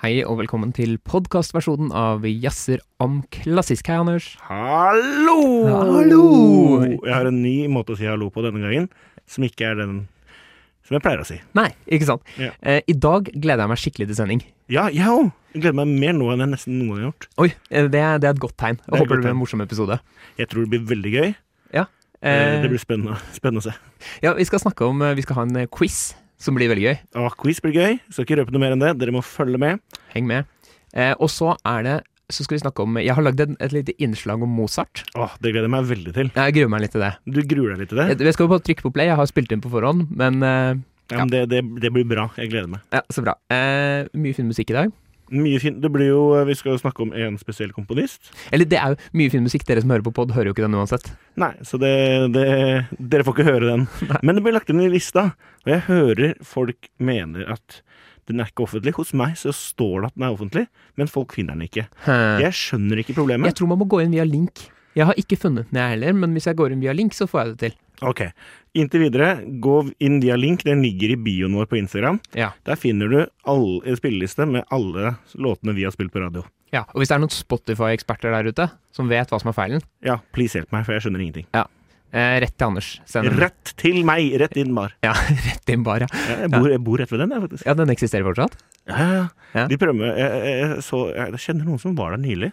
Hei og velkommen til podkastversjonen av Jazzer om klassisk. Hei, Anders. Hallo! Hallo! Jeg har en ny måte å si hallo på denne gangen, som ikke er den som jeg pleier å si. Nei, ikke sant. Ja. Eh, I dag gleder jeg meg skikkelig til sending. Ja, jeg òg! Jeg gleder meg mer nå enn jeg nesten noen gang har gjort. Oi, eh, det, er- det er et godt tegn. Jeg er et håper godt det blir tegn. en morsom episode. Jeg tror det blir veldig gøy. Eh, Eh, Det blir spennende, spennende å se. Ja, vi skal snakke om eh, Vi skal ha en eh, quiz som blir veldig gøy. Og Ah, quiz blir gøy. Skal ikke røpe noe mer enn det. Dere må følge med. Heng med. Eh, og så er det så skal vi snakke om Jeg har lagd en- et lite innslag om Mozart. Åh, det gleder jeg meg veldig til. Jeg gruer meg litt til det. Du gruer deg litt til det? Jeg, jeg skal jo bare trykke på play. Jeg har spilt inn på forhånd, men eh, Ja, men det, det, det blir bra. Jeg gleder meg. Ja, så bra. Eh, mye fin musikk i dag. Mye fint. Det blir jo eh, Vi skal jo snakke om en spesiell komponist. Eller det er jo mye fin musikk. Dere som hører på pod, hører jo ikke den uansett. Nei, så det, det Dere får ikke høre den. Men det blir lagt inn i lista, og jeg hører folk mener at den er ikke offentlig. Hos meg så står det at den er offentlig, men folk finner den ikke. Eh, Jeg skjønner ikke problemet. jeg tror man må gå inn via link. Jeg har ikke funnet den, jeg heller, men hvis jeg går inn via link, så får jeg det til. Ok, Inntil videre, gå inn via link. Den ligger i bioen vår på Instagram. Ja. Der finner du all, en spilleliste med alle låtene vi har spilt på radio. ja. Og hvis det er noen Spotify-eksperter der ute som vet hva som er feilen, Ja, please hjelp meg, for jeg skjønner ingenting. eh, rett til Anders. Send den. Rett til meg! Rett inn, Mar. Ja, rett inn, bare. Jeg bor, jeg bor rett ved den, jeg, faktisk. Ja, den eksisterer fortsatt? Ja, ja, Ja. ja. De prøver med jeg, jeg, jeg, så, jeg, jeg kjenner noen som var der nylig.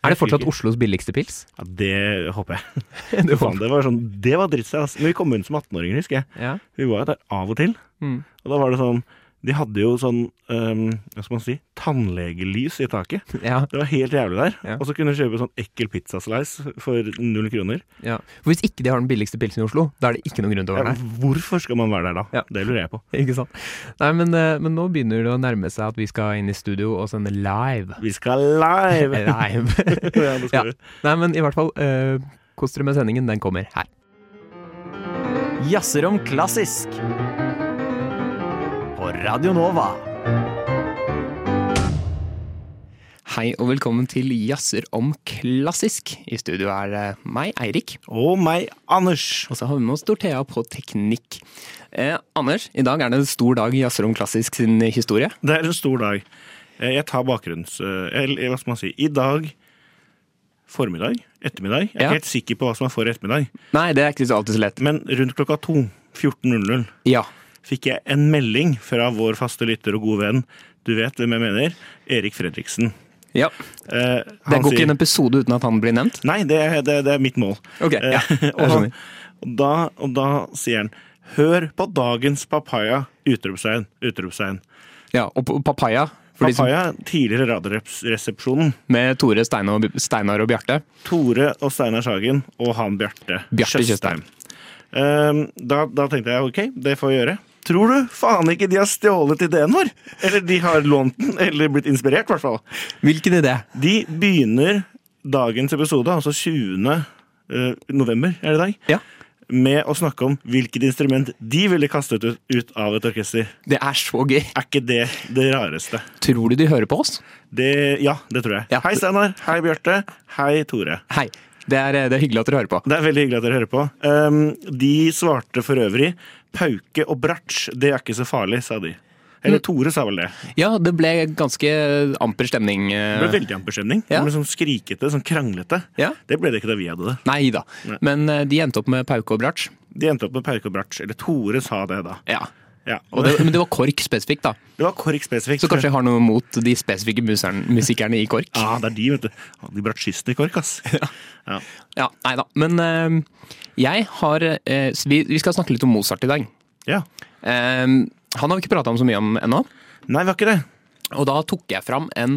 Er det fortsatt Oslo? Oslos billigste pils? Ja, det håper jeg. Det Faen, det var, sånn, det var dritt seg, ass. Men vi kom inn som 18-åringer, husker jeg. Ja. Vi var jo der av og til. Mm. Og da var det sånn De hadde jo sånn ehm, Hva skal man si? Tannlegelys i taket. Ja, Det var helt jævlig der. Ja. Og så kunne du kjøpe sånn ekkel pizzaslice for null kroner. ja. For hvis ikke de har den billigste pilsen i Oslo, da er det ikke noen grunn til å Ja, være der. hvorfor skal man være der da? Ja. Det lurer jeg på. Ikke sant? Nei, men, eh, men nå begynner det å nærme seg at vi skal inn i studio og sende live. Vi skal live! Live. ja, det skal Ja. vi. Nei, men i hvert fall, eh, kos dere med sendingen. Den kommer her. Jazzer om klassisk. På Radio Nova. Hei og velkommen til Jazzer om klassisk. I studio er eh, meg, Eirik, Og meg, Anders. og så har vi med oss Dorthea på teknikk. Eh, Anders, i dag er det en stor dag i Jazzer om klassisk sin historie. Det er en stor dag. Eh, Jeg tar bakgrunns... eh, Eller hva skal man si? I dag formiddag? Ettermiddag? Jeg er Ja. ikke helt sikker på hva som er for ettermiddag. Nei, det er ikke så alltid så lett. Men rundt klokka to, 14.00, Ja. fikk jeg en melding fra vår faste lytter og gode venn, du vet hvem jeg mener, Erik Fredriksen. ja. Eh, Det han går ikke sier- en episode uten at han blir nevnt. Nei, det, er- det, er- det er mitt mål. Ok, ja, Eh, jeg og, han, skjønner. og, da, og da sier han Hør på dagens papaya! Utropstegn, utropstegn. Ja, Og på- papaya, for de som, Papaya, tidligere Radioresepsjonen. med Tore Steinar og, Steinar og Bjarte. Tore og Steinar Sagen og han Bjarte Bjarte Tjøstheim. Ehm, da, da tenkte jeg ok, det får vi gjøre. Tror du faen ikke de har stjålet ideen vår? Eller de har lånt den, eller blitt inspirert, i hvert fall. Hvilken idé? De begynner dagens episode, altså 20. eh, november, er det i dag, Ja. med å snakke om hvilket instrument de ville kastet ut, ut av et orkester. Det er så gøy. Er ikke det det rareste? Tror du de hører på oss? Det, ja, det tror jeg. Ja. Hei, Steinar. Hei, Bjarte. Hei, Tore. Hei. Det er, det er hyggelig at dere hører på. Det er veldig hyggelig at dere hører på. Ehm, de svarte for øvrig pauke og bratsj, det er ikke så farlig, sa de. Eller Mm. Tore sa vel det. Ja, det ble ganske amper stemning. eh, Det ble veldig amper stemning. Ja. Det ble Sånn skrikete, sånn kranglete. Ja. Det ble det ikke da vi hadde det. Nei da. Men eh, de endte opp med pauke og bratsj. De endte opp med pauke og bratsj. Eller Tore sa det, da. Ja. Ja. Og det, men det var KORK spesifikt, da. Det var KORK spesifikt. Så kanskje jeg har noe mot de spesifikke musikerne, musikerne i KORK. Ja, det er de, vet du. Å, De bratsjistene i KORK, ass. Ja. Ja, nei da. Men eh, jeg har eh, s- vi, vi skal snakke litt om Mozart i dag. ja. Eh, han har vi ikke prata om så mye om ennå. Nei, det var ikke det. Og da tok jeg fram en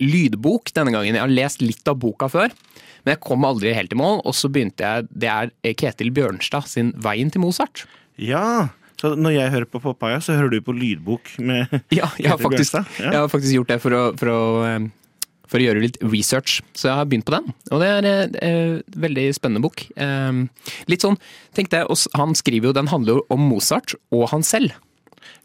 lydbok denne gangen. Jeg har lest litt av boka før, men jeg kom aldri helt i mål. Og så begynte jeg Det er Ketil Bjørnstad sin 'Veien til Mozart'. Ja. Så når jeg hører på Papaya, så hører du på lydbok med Ja, jeg har Peter faktisk, Bjørnstad, ja. jeg har faktisk gjort det for å, for, å, eh, for å gjøre litt research. Så jeg har begynt på den, og det er eh, eh, veldig spennende bok. Eh, Litt sånn, tenkte jeg, og s- Han skriver jo, den handler jo om Mozart og han selv.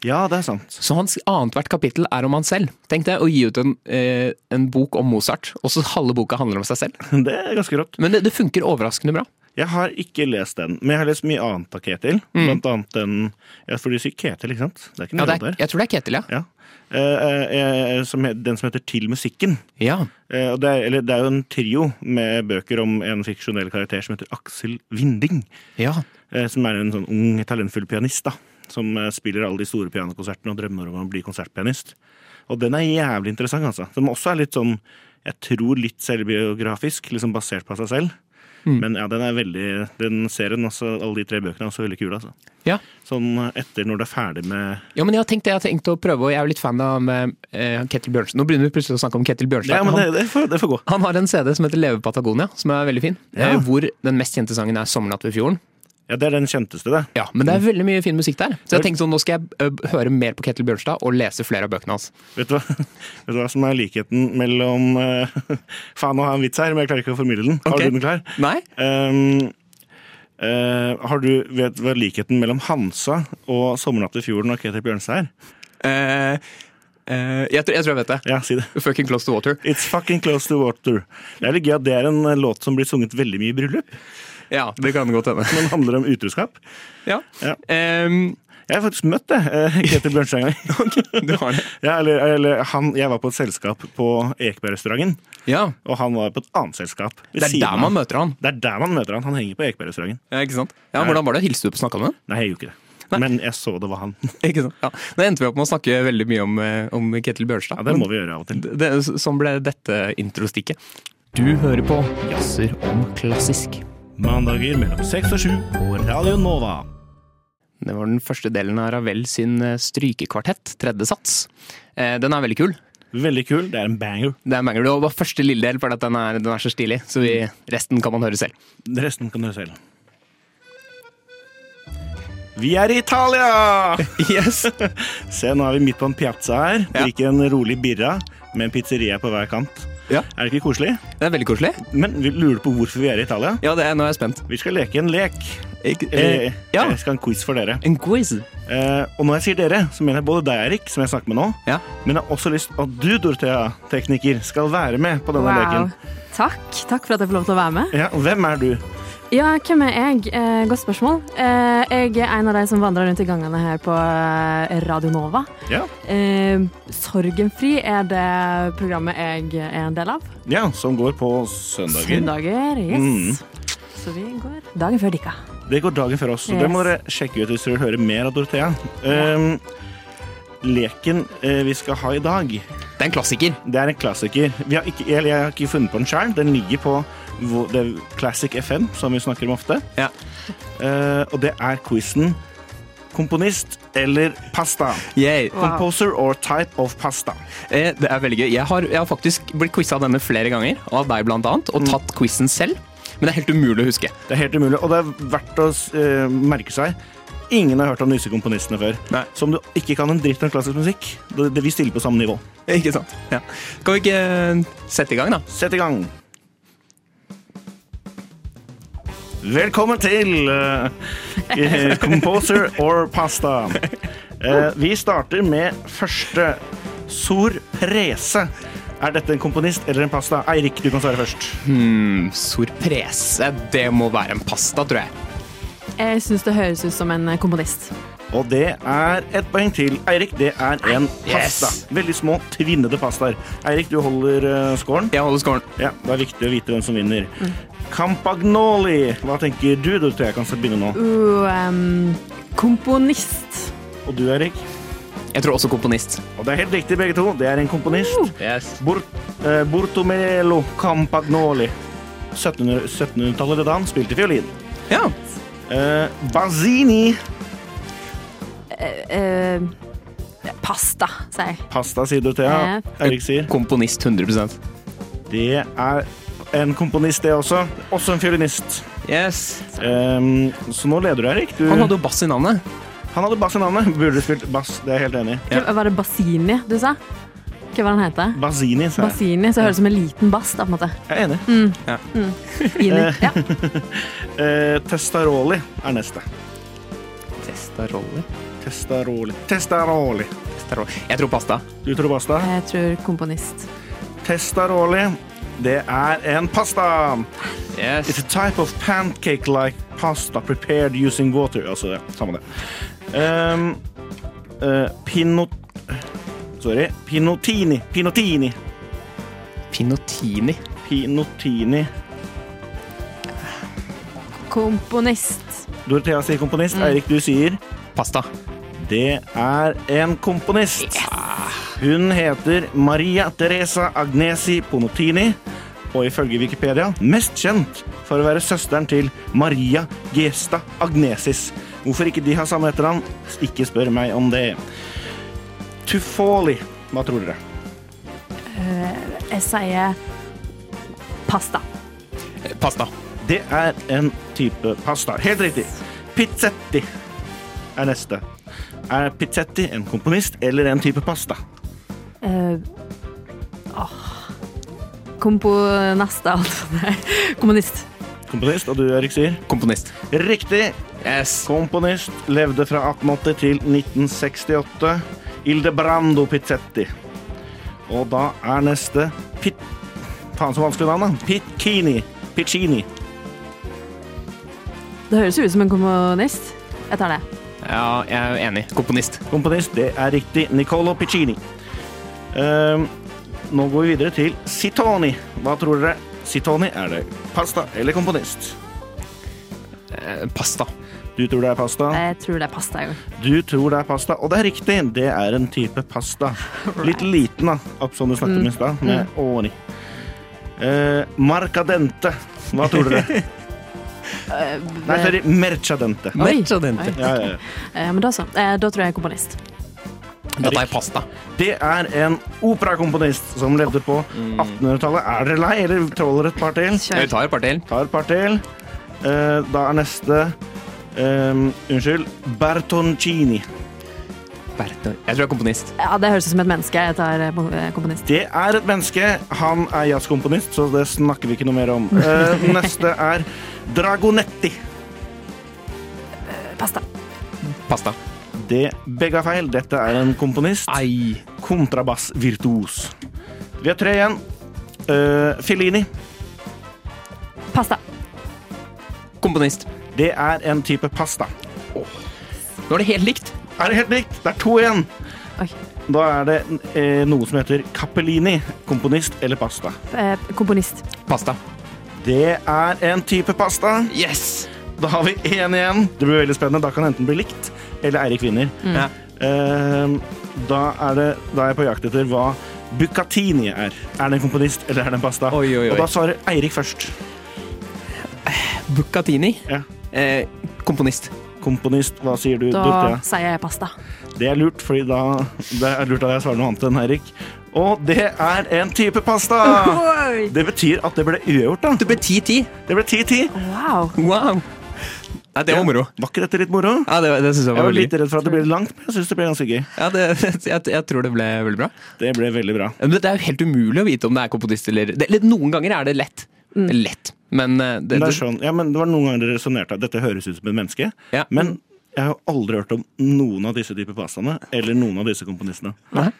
Ja, det er sant. Så hans annethvert kapittel er om han selv. Tenkte jeg å gi ut en, eh, en bok om Mozart, og så halve boka handler om seg selv. Det er ganske rått. Men det, det funker overraskende bra. Jeg har ikke lest den, men jeg har lest mye annet av Ketil. Blant annet den ja, For du sier Ketil, ikke sant? Det er ikke Mm. Ja, noe det der. er, jeg tror det er Ketil, ja. Ja. Eh, eh, som, het- den som heter Til musikken. ja. Eh, og det, er, eller, det er jo en trio med bøker om en fiksjonell karakter som heter Aksel Vinding. Ja. eh, som er en sånn ung, talentfull pianist. da, Som eh, spiller alle de store pianokonsertene og drømmer om å bli konsertpianist. Og den er jævlig interessant, altså. Som også er litt sånn, jeg tror litt selvbiografisk, liksom basert på seg selv. Men ja, den er veldig, den serien, altså, alle de tre bøkene, er også veldig kule. altså. ja. Sånn etter når det er ferdig med Ja, men jeg har tenkt det, jeg har tenkt å prøve, og jeg er jo litt fan av eh, Ketil Bjørnsen. Nå begynner vi plutselig å snakke om Ketil Bjørnsen. Ja, men det, han, det, får, det får gå. han har en CD som heter Leve Patagonia, som er veldig fin. Ja. eh, Hvor den mest kjente sangen er Sommernatt ved fjorden. Ja, Det er den kjenteste, det. Ja, Men det er veldig mye fin musikk der. Så jeg tenkte sånn, nå skal jeg ø, høre mer på Ketil Bjørnstad og lese flere av bøkene hans. Vet du hva, Vet du hva som er likheten mellom eh, Faen, nå har jeg en vits her, men jeg klarer ikke å formidle den. Har Ok. du den klar? Nei? Ehm, eh, har du vet hva likheten mellom Hansa og 'Sommernatt ved fjorden' og Ketil Bjørnstad er? Eh, eh, jeg, tror, jeg tror jeg vet det. Ja, si det. Fucking Close to Water. It's fucking close to water. Det er litt gøy at det er en eh, låt som blir sunget veldig mye i bryllup. Ja, det kan godt hende. Den handler om utroskap. Ja. Ja. Em, Jeg har faktisk møtt det, eh, Ketil Bjørnstad en gang. du har det. Ja, eller, eller han, jeg var på et selskap på Ekebergrestauranten, Ja, og han var på et annet selskap. ved Det er siden der av. man møter han. Det er der man møter han. Han henger på Ekebergrestauranten. Ja, ikke sant? Ja, Hvordan var det? Hilste du på snakka med ham? Nei, jeg gjorde ikke det. Men jeg så det var han. Ikke sant? Ja. Nå endte vi opp med å snakke veldig mye om, eh, om Ketil Bjørnstad. Ja, Det må vi gjøre av og til. Men det, sånn ble dette introstikket. Du hører på Jazzer om klassisk. Mandager mellom seks og sju på Radio Nova. Det var den første delen av Ravel sin eh, strykekvartett, tredje sats. Eh, Den er veldig kul. Veldig kul. Det er en banger. Det er mangler. Det var første lille del, for at den, er, den er så stilig. Så vi, resten kan man høre selv. Resten kan dere selv. Vi er i Italia! Yes! Se, nå er vi midt på en piazza her. Ja. Drikker en rolig birra med en pizzeria på hver kant. Ja. Er det ikke koselig? Det er veldig koselig. Men vi lurer på hvorfor vi er i Italia. Ja, det er, nå er jeg spent. Vi skal leke en lek. Eller, Eh, ja. Jeg skal ha en quiz for dere. En quiz. Eh, og når jeg sier dere, så mener jeg både deg, Erik, som jeg snakker med nå, Ja. men jeg har også lyst at du, Dorothea, tekniker, skal være med på denne Wow. leken. Takk. Takk for at jeg får lov til å være med. Ja, hvem er du? Ja, hvem er jeg? Eh, godt spørsmål. Eh, jeg er en av de som vandrer rundt i gangene her på eh, Radio Nova. Ja. Eh, Sorgenfri er det programmet jeg er en del av. Ja, som går på søndager. Mm. Søndager, yes. Så vi går dagen før dikka. Det går dagen før oss, så det Yes. må dere sjekke ut hvis dere vil høre mer av Dorothea. Ehm, leken eh, vi skal ha i dag, Det er en klassiker. det er en klassiker. Vi har ikke, jeg, jeg har ikke funnet på den sjøl. Den ligger på hvor- det er Classic FM, som vi snakker om ofte. Ja. Eh, og det er quizen Komponist eller pasta? Yay. Composer or type of pasta? Eh, Det er veldig gøy. Jeg har, jeg har faktisk blitt quiza denne flere ganger, av deg blant annet, og tatt quizen selv. Men det er helt umulig å huske. Det er helt umulig, og det er verdt å eh, merke seg. Ingen har hørt om disse komponistene før. Nei. Så om du ikke kan en dritt om klassisk musikk, det, det, vi stiller på samme nivå. Ikke sant? Ja. Kan vi ikke eh, sette i gang, da? Sett i gang. Velkommen til eh, eh, Composer or Pasta. Eh, vi starter med første. Sorprese. Er dette en komponist eller en pasta? Eirik, du kan svare først. Mm, Sorprese. Det må være en pasta, tror jeg. Jeg syns det høres ut som en eh, komponist. Og det er et poeng til. Eirik, det er en Yes. pasta. Veldig små, tvinnede pastaer. Eirik, du holder eh, scoren. Jeg holder scoren. Ja, det er viktig å vite hvem som vinner. Campagnoli. Hva tenker du? Du tror jeg kan begynne nå. Uh, em, komponist. Og du, Eirik? Jeg tror også komponist. Og det er helt riktig, begge to. Det er en komponist. Yes. Bort, eh, Bortomelo Campagnoli. 1700- 1700-tallet da han spilte fiolin. Ja. Eh, Bazzini. Eh, pasta, sier jeg. Pasta, sier du, Thea. Eirik sier. Komponist 100 Det er en komponist, det også. Også en fiolinist. Yes. Ehm, så nå leder du, Erik. Du, Han hadde jo bass i navnet. han hadde bass i navnet. Burde spilt bass, det er jeg helt enig i. Ja. Hva- Var det Bassini du sa? Hva var det han heter? Bazzini, sa jeg. Bassini, så høres det ut som en liten bass, da, på en måte. Jeg er enig. Mm. Inni. Ja. Eh, Testaroli er neste. Testaroli. Testaroli. Testaroli. Testaroli. Jeg tror pasta. Du tror pasta? Jeg tror komponist. Testaroli. Det er en pasta. Yes. It's a type of pancake-like pasta prepared using water. Altså, ja, samme det. Um, eh, pinot... Sorry. Pinotini. Pinotini. Pinotini. Pinotini. Komponist. Dorothea sier komponist. Mm. Eirik, du sier Pasta. det er en komponist. Hun heter Maria Teresa Agnesi Ponotini, og ifølge Wikipedia mest kjent for å være søsteren til Maria Gesta Agnesis. Hvorfor ikke de har samme etternavn? Ikke spør meg om det. Tufoli, hva tror dere? Jeg sier pasta. Eh, Pasta. Det er en type pasta. Helt riktig. Pizzetti er neste. Er pizzetti en komponist eller en type pasta? Eh, åh. Komponasta, altså. Nei, Kommunist. Komponist, og du, Erik, sier? Komponist. Riktig. Yes. Komponist. Levde fra 1880 til 1968. Ildebrando Pizzetti. Og da er neste Pit... Faen så vanskelig navn, da. Pitkini. Piccini. Det høres jo ut som en kommunist. Jeg tar det. Ja, jeg er enig. Komponist. Komponist, det er riktig. Nicolo Piccini. Ehm, nå går vi videre til Sitoni. Hva tror dere? Sitoni, er det pasta eller komponist? Eh, Pasta. Du tror det er pasta? Jeg tror det er pasta. Jo. Du tror det er pasta, og det er riktig. Det er en type pasta. Litt liten, da. Opp som du snakket om i stad, med åni. Eh, marcadente. Hva tror dere? Nei, sorry. Merchadente. Oi. Merchadente. Ja, ja, ja. Eh, men da så. Eh, da tror jeg komponist. Da tar jeg pasta. Det er en operakomponist som levde på 1800-tallet. Er dere lei, eller tåler et par til? Jeg Kjør. tar et par til. Tar et par til. Eh, da er neste eh, Unnskyld. Bertoncini. Berto- Jeg tror jeg er komponist. Ja, det høres ut som et menneske. Jeg tar eh, mo- eh, komponist. Det er et menneske. Han er jazzkomponist, så det snakker vi ikke noe mer om. Eh, neste er Dragonetti. Pasta. Pasta. Det begge er feil. Dette er en komponist. Ai. Kontrabassvirtuos. Vi har tre igjen. Eh, Fellini. Pasta. Komponist. Det er en type pasta. Nå er det helt likt. Er det helt likt? Det er to igjen. Oi. Da er det eh, noe som heter Cappellini. Komponist eller pasta. Eh, komponist. Pasta. Det er en type pasta. Yes! Da har vi én igjen. Det blir veldig spennende. Da kan det enten bli likt, eller Eirik vinner. Ja. Ehm, da, er det, da er jeg på jakt etter hva Bucatini er. Er det en komponist, eller er det en pasta? Oi, oi, oi. Og da svarer Eirik først. Bucatini. Ja. Eh, komponist. Komponist, hva sier du? Da Dorthea? sier jeg pasta. Det er lurt, fordi da det er lurt at jeg svarer noe annet enn Eirik. Og det er en type pasta! Oi. Det betyr at det ble uavgjort, da. Det ble 10-10. Det ble 10-10. Wow. Wow. Nei, det var moro. Var ikke dette litt moro? Ja, det, det synes jeg Jeg var var veldig litt redd for at det ble langt, men jeg syns det ble ganske gøy. Ja, det, jeg, jeg tror det ble veldig bra. Det ble veldig bra. Men det er jo helt umulig å vite om det er komponist eller det, Eller noen ganger er det lett. Lett. Mm. Men eh, det, Det, er det, sånn, ja, men det var noen ganger det resonnerte at dette høres ut som et menneske. Ja. Men jeg har aldri hørt om noen av disse typer pastaene eller noen av disse komponistene. Nei.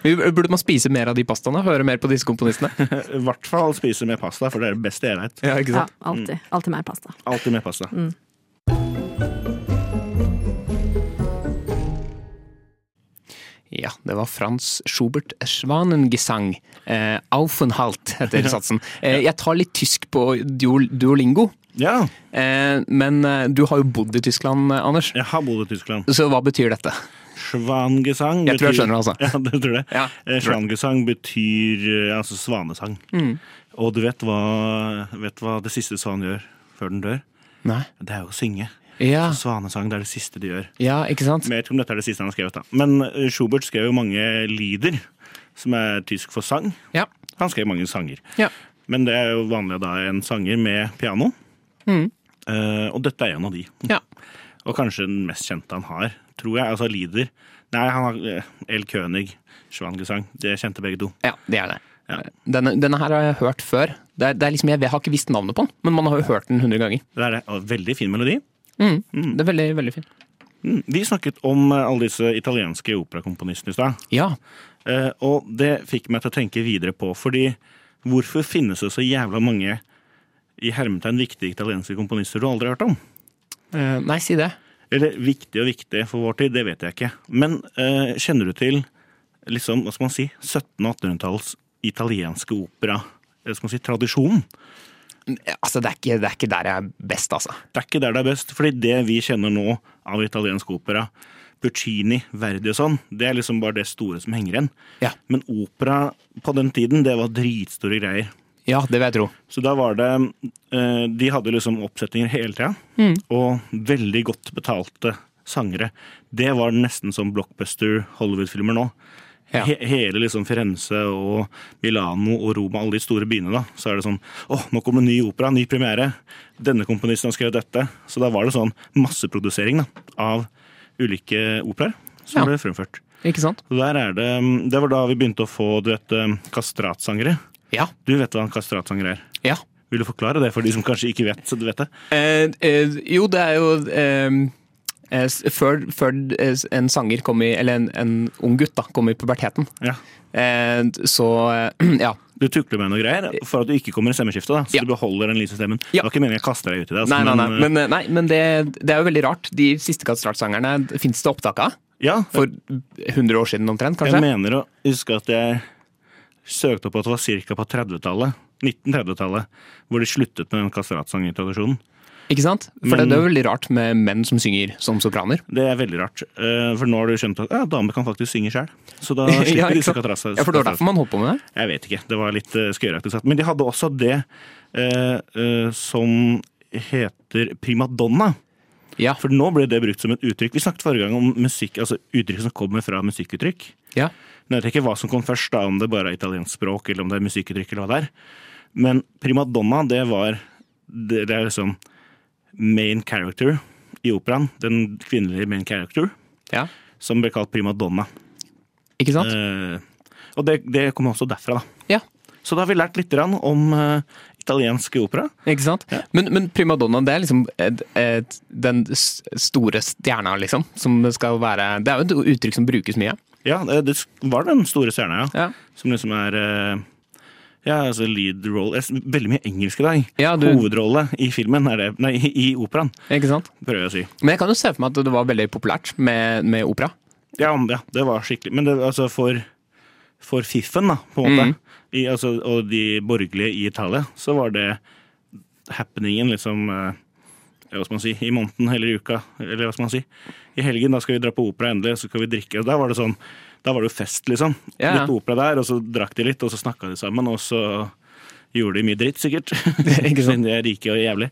Vi- Burde man spise mer av de pastaene? Høre mer på disse komponistene? I hvert fall spise med pasta, for det er det beste jeg veit. Ja, ikke Ja, sant? Mm. alltid. Alltid mer pasta. Alltid med pasta. Ja, det var Frans Schubert Schwanengesang. Eh, Aufenhalt heter satsen. Eh, jeg tar litt tysk på duol duolingo, Ja, eh, men eh, du har jo bodd i Tyskland, eh, Anders. jeg har bodd i Tyskland. Så hva betyr dette? Schwangesang Jeg tror jeg skjønner det, altså. Ja, du tror det? Ja, Eh, tror det. Mm. Schwangesang betyr eh, altså svanesang. Og du vet hva, vet hva det siste svanen gjør før den dør? Nei. Det er jo å synge. Ja, Svanesang det er det siste de gjør. ja ikke sant? Men jeg vet ikke om dette er det siste han har skrevet, da. Men eh, Schubert skrev jo mange lieder, som er tysk for sang. Ja. Han skrev mange sanger. ja. Men det er jo vanlig da en sanger med piano. Eh, og dette er en av de. ja. Og kanskje den mest kjente han har, tror jeg. Altså Lieder. Nei, han har eh, El König, Schwangesang. Det kjente begge to. Ja, det er det. Eh, Ja. Denne, denne her har jeg hørt før. Det er, det er liksom, jeg, har ikke visst navnet på den, men man har jo hørt den hundre ganger. Mm, Det er en veldig fin melodi. Det er veldig, veldig fin. Mm. Vi snakket om eh, alle disse italienske operakomponistene i stad. Ja. Eh, og det fikk meg til å tenke videre på, fordi hvorfor finnes det så jævla mange i hermetegn viktige italienske komponister du aldri har hørt om. Eh, nei, si det. Eller viktig og viktig for vår tid, det vet jeg ikke. Men eh, kjenner du til liksom, hva skal man si, 1700- og 1800-tallets italienske opera? Eller skal man si tradisjonen? Altså, det er, ikke, det er ikke der jeg er best, altså. Det er ikke der det er best, fordi det vi kjenner nå av italiensk opera, Puccini, Verdi og sånn, det er liksom bare det store som henger igjen. Ja. Men opera på den tiden, det var dritstore greier. Ja, det vil jeg tro. Så da var det eh, De hadde liksom oppsetninger hele tida, Mm. og veldig godt betalte sangere. Det var nesten som blockbuster Hollywood-filmer nå. Ja. He hele liksom Firenze og Milano og Roma, alle de store byene, da. Så er det sånn Å, nå kommer det ny opera, ny premiere. Denne komponisten har skrevet dette. Så da var det sånn masseprodusering da, av ulike operaer som Ja. ble fremført. Ikke sant? Så der er det, mm, det var da vi begynte å få du vet, eh, kastratsangere. Ja. Du vet hva en kastratsanger er? ja. Vil du forklare det for de som kanskje ikke vet? så du vet det? Eh, eh, jo, det er jo eh, eh, s- før, før eh, s- en sanger kom i Eller en, en ung gutt da, kom i puberteten, Ja. eh, så eh, Ja. Du tukler med noe greier for at du ikke kommer i stemmeskiftet. da, Så Ja. du beholder den lyse stemmen. Ja. Det var ikke meningen jeg kaste deg ut i det. altså, Nei, nei, nei. men, eh, Men, eh, nei, men det, det er jo veldig rart. De siste Kastrart-sangerne fins det opptak av. ja, For 100 år siden omtrent, jeg kanskje? mener å huske at jeg søkte opp at det var ca. på 30-tallet. 1930-tallet, hvor de sluttet med den kastratsangertradisjonen. Ikke sant? For Men- det, det er jo veldig rart med menn som synger som sopraner. Det er veldig rart, eh, for nå har du skjønt at ja, damer kan faktisk synge sjøl. Så da Ja, slipper ikke disse sant? kastrats- Ja, for det var derfor man holdt på med det? Jeg vet ikke, det var litt eh, skøyeraktig satt. Men de hadde også det eh, eh, som heter primadonna. Ja. For nå ble det brukt som et uttrykk. Vi snakket forrige gang om musikk, altså uttrykk som kommer fra musikkuttrykk. ja. Nå vet jeg ikke hva som kom først, da, om det bare er italiensk språk, eller om det er musikkuttrykk, eller hva det er. Men primadonna, det var det, det er liksom main character i operaen. Den kvinnelige main character, ja. som ble kalt primadonna. Ikke sant? Eh, og det, det kom også derfra, da. Ja. Så da har vi lært litt grann om eh, italiensk opera. Ikke sant? Men, men primadonna, det er liksom et, et, den s- store stjerna, liksom. Som det skal være Det er jo et uttrykk som brukes mye. Ja, det det var den store stjerna, ja. Ja. Som liksom er eh, ja, altså lead role. Jeg s- Veldig mye engelsk i dag. Ja, du- Hovedrolle i filmen, er det, nei, i, i operaen, Ikke sant? prøver jeg å si. Men jeg kan jo se for meg at det var veldig populært med, med opera. Ja, men ja, det var skikkelig. Men det, altså for, for fiffen, da, på en måte, Mm. i, altså, og de borgerlige i Italia, så var det happeningen liksom eh, ja, hva skal man si, i måneden eller i uka, eller hva skal man si. I helgen, da skal vi dra på opera endelig, så skal vi drikke. Og da var det sånn, da var det jo fest, liksom. Ja, ja. Litt opera der, og så drakk de litt, og så snakka de sammen, og så gjorde de mye dritt, sikkert. Ikke sant? Siden de er rike og jævlig.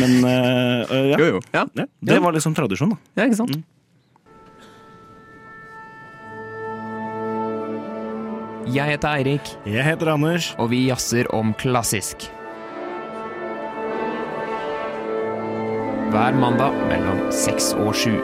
Men eh, eh, ja. jo. Ja, Mm. ja. Det var liksom tradisjon, da. ja ikke sant? Jeg heter Eirik, Jeg heter Anders. og vi jazzer om klassisk. Hver mandag mellom seks og sju.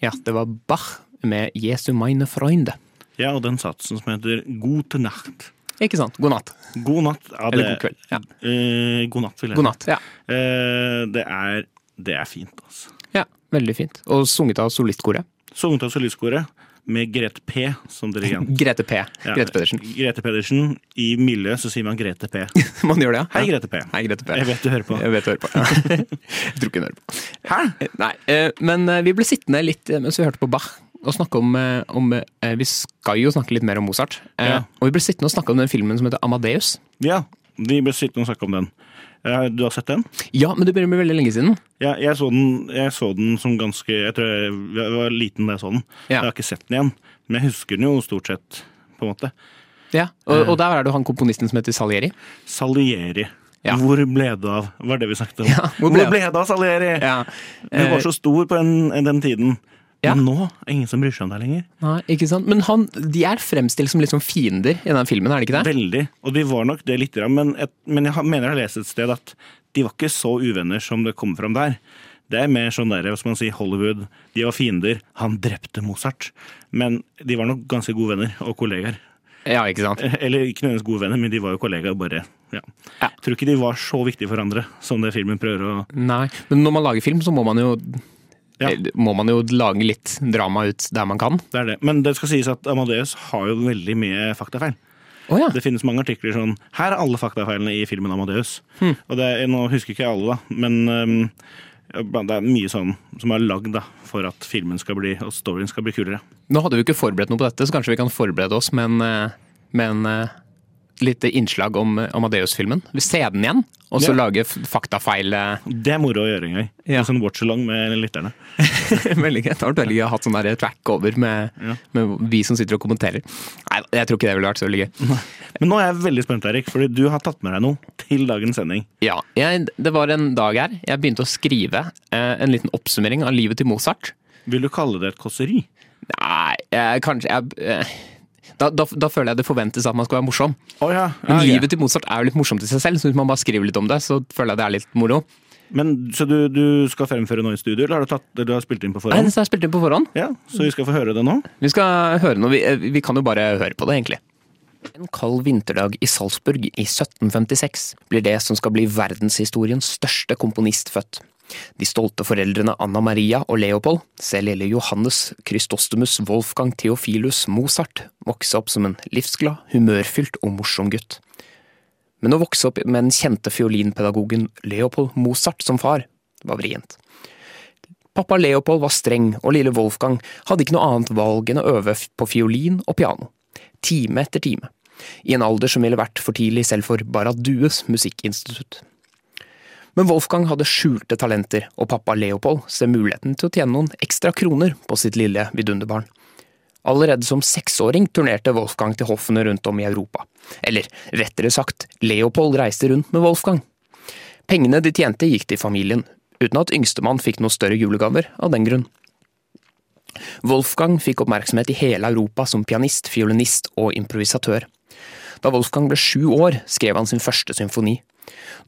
Ja, det var Bach med 'Jesu meine Freunde'. Ja, og den satsen som heter God til natt. Ikke sant? God natt. God natt. Ja, Eller god kveld. Ja. Eh, god natt, vil jeg God natt. Ja. si. Eh, det, er, det er fint, altså. ja. Veldig fint. Og sunget av solistkoret. Sunget av Solistkoret med Grete P som dirigent. Grete P. Ja, Grete Pedersen. Grete Pedersen. I miljøet så sier man Grete P. Man gjør det, ja? Hei, Ja. Grete P. Hei, Grete P. Jeg vet du hører på. Jeg vet du hører på. jeg tror ikke hun hører på. Hæ? Nei, eh, men eh, vi ble sittende litt eh, mens vi hørte på Bach og snakke om, eh, om eh, Vi skal jo snakke litt mer om Mozart. Eh, Ja. Og vi ble sittende og snakke om den filmen som heter Amadeus. Ja, vi bør sitte og snakke om den. Eh, Du har sett den? Ja, men det begynner med veldig lenge siden. Ja, jeg, så den, jeg så den som ganske Jeg tror jeg jeg var liten da jeg så den. Ja. Jeg har ikke sett den igjen, men jeg husker den jo stort sett, på en måte. Ja, Eh. Og, og der er det jo han komponisten som heter Salieri. Salieri. Ja. Hvor ble det av? Var det vi snakket om. Ja, hvor ble det av? det av Salieri? Ja. Eh, Du var så stor på en, en den tiden. Ja. Men nå er ingen som bryr seg om deg lenger. Nei, ikke sant? Men han, de er fremstilt som litt sånn fiender i den filmen, er det ikke det? Veldig. Og de var nok det litt, grann, men, et, men jeg har- mener jeg har lest et sted at de var ikke så uvenner som det kommer fram der. Det er mer sånn der, hvis man sier Hollywood, de var fiender, han drepte Mozart. Men de var nok ganske gode venner og kollegaer. Eh, Ja, ikke sant? Eller ikke nødvendigvis gode venner, men de var jo kollegaer, bare ja. Ja. Jeg tror ikke de var så viktige for hverandre som det filmen prøver å Nei, men når man lager film, så må man jo Ja. eh, Må man jo lage litt drama ut der man kan. Det er det. Men det skal sies at Amadeus har jo veldig mye faktafeil. Å ja. Det finnes mange artikler sånn Her er alle faktafeilene i filmen Amadeus. Og det, er- nå husker ikke jeg alle, da, men øhm, det er mye sånn som er lagd da, for at filmen skal bli, og storyen skal bli kulere. Nå hadde vi ikke forberedt noe på dette, så kanskje vi kan forberede oss med en, eh, med en eh, lite innslag om eh, Amadeus-filmen. Vi ser den igjen, og så Ja. lage f- faktafeil. eh, Det er moro å gjøre en gang. Ja. En Sånn watch-along med lytterne. Veldig gøy. Det har vært veldig gøy å ha hatt sånn der track over med, Ja. med vi som sitter og kommenterer. Nei, jeg tror ikke det ville vært så veldig gøy. Men nå er jeg veldig spent, Erik, fordi du har tatt med deg noe til dagens sending. Ja, jeg, Det var en dag her jeg begynte å skrive eh, en liten oppsummering av livet til Mozart. Vil du kalle det et kåseri? Nei, jeg, kanskje jeg, eh, da, da, da føler jeg det forventes at man skal være morsom. Å ja. Men Ah, ja, ok. livet til Mozart er jo litt morsomt i seg selv, så hvis man bare skriver litt om det, så føler jeg det er litt moro. Men, så du, du skal fremføre nå i studio, eller har du, tatt, du har spilt inn på Nei, forhånd? det har jeg spilt inn på forhånd. Ja, Så vi skal få høre det nå? Vi skal høre noe, vi, eh, vi kan jo bare høre på det, egentlig. En kald vinterdag i Salzburg i 1756 blir det som skal bli verdenshistoriens største komponist født. De stolte foreldrene Anna Maria og Leopold ser lille Johannes Christostomus Wolfgang Theophilus Mozart vokse opp som en livsglad, humørfylt og morsom gutt. Men å vokse opp med den kjente fiolinpedagogen Leopold Mozart som far, var vrient. Pappa Leopold var streng, og lille Wolfgang hadde ikke noe annet valg enn å øve f- på fiolin og piano, time etter time, i en alder som ville vært for tidlig selv for Barradues musikkinstitutt. Men Wolfgang hadde skjulte talenter, og pappa Leopold ser muligheten til å tjene noen ekstra kroner på sitt lille vidunderbarn. Allerede som seksåring turnerte Wolfgang til hoffene rundt om i Europa, eller rettere sagt, Leopold reiste rundt med Wolfgang. Pengene de tjente gikk til familien, uten at yngstemann fikk noe større julegaver av den grunn. Wolfgang fikk oppmerksomhet i hele Europa som pianist, fiolinist og improvisatør. Da Wolfgang ble sju år, skrev han sin første symfoni.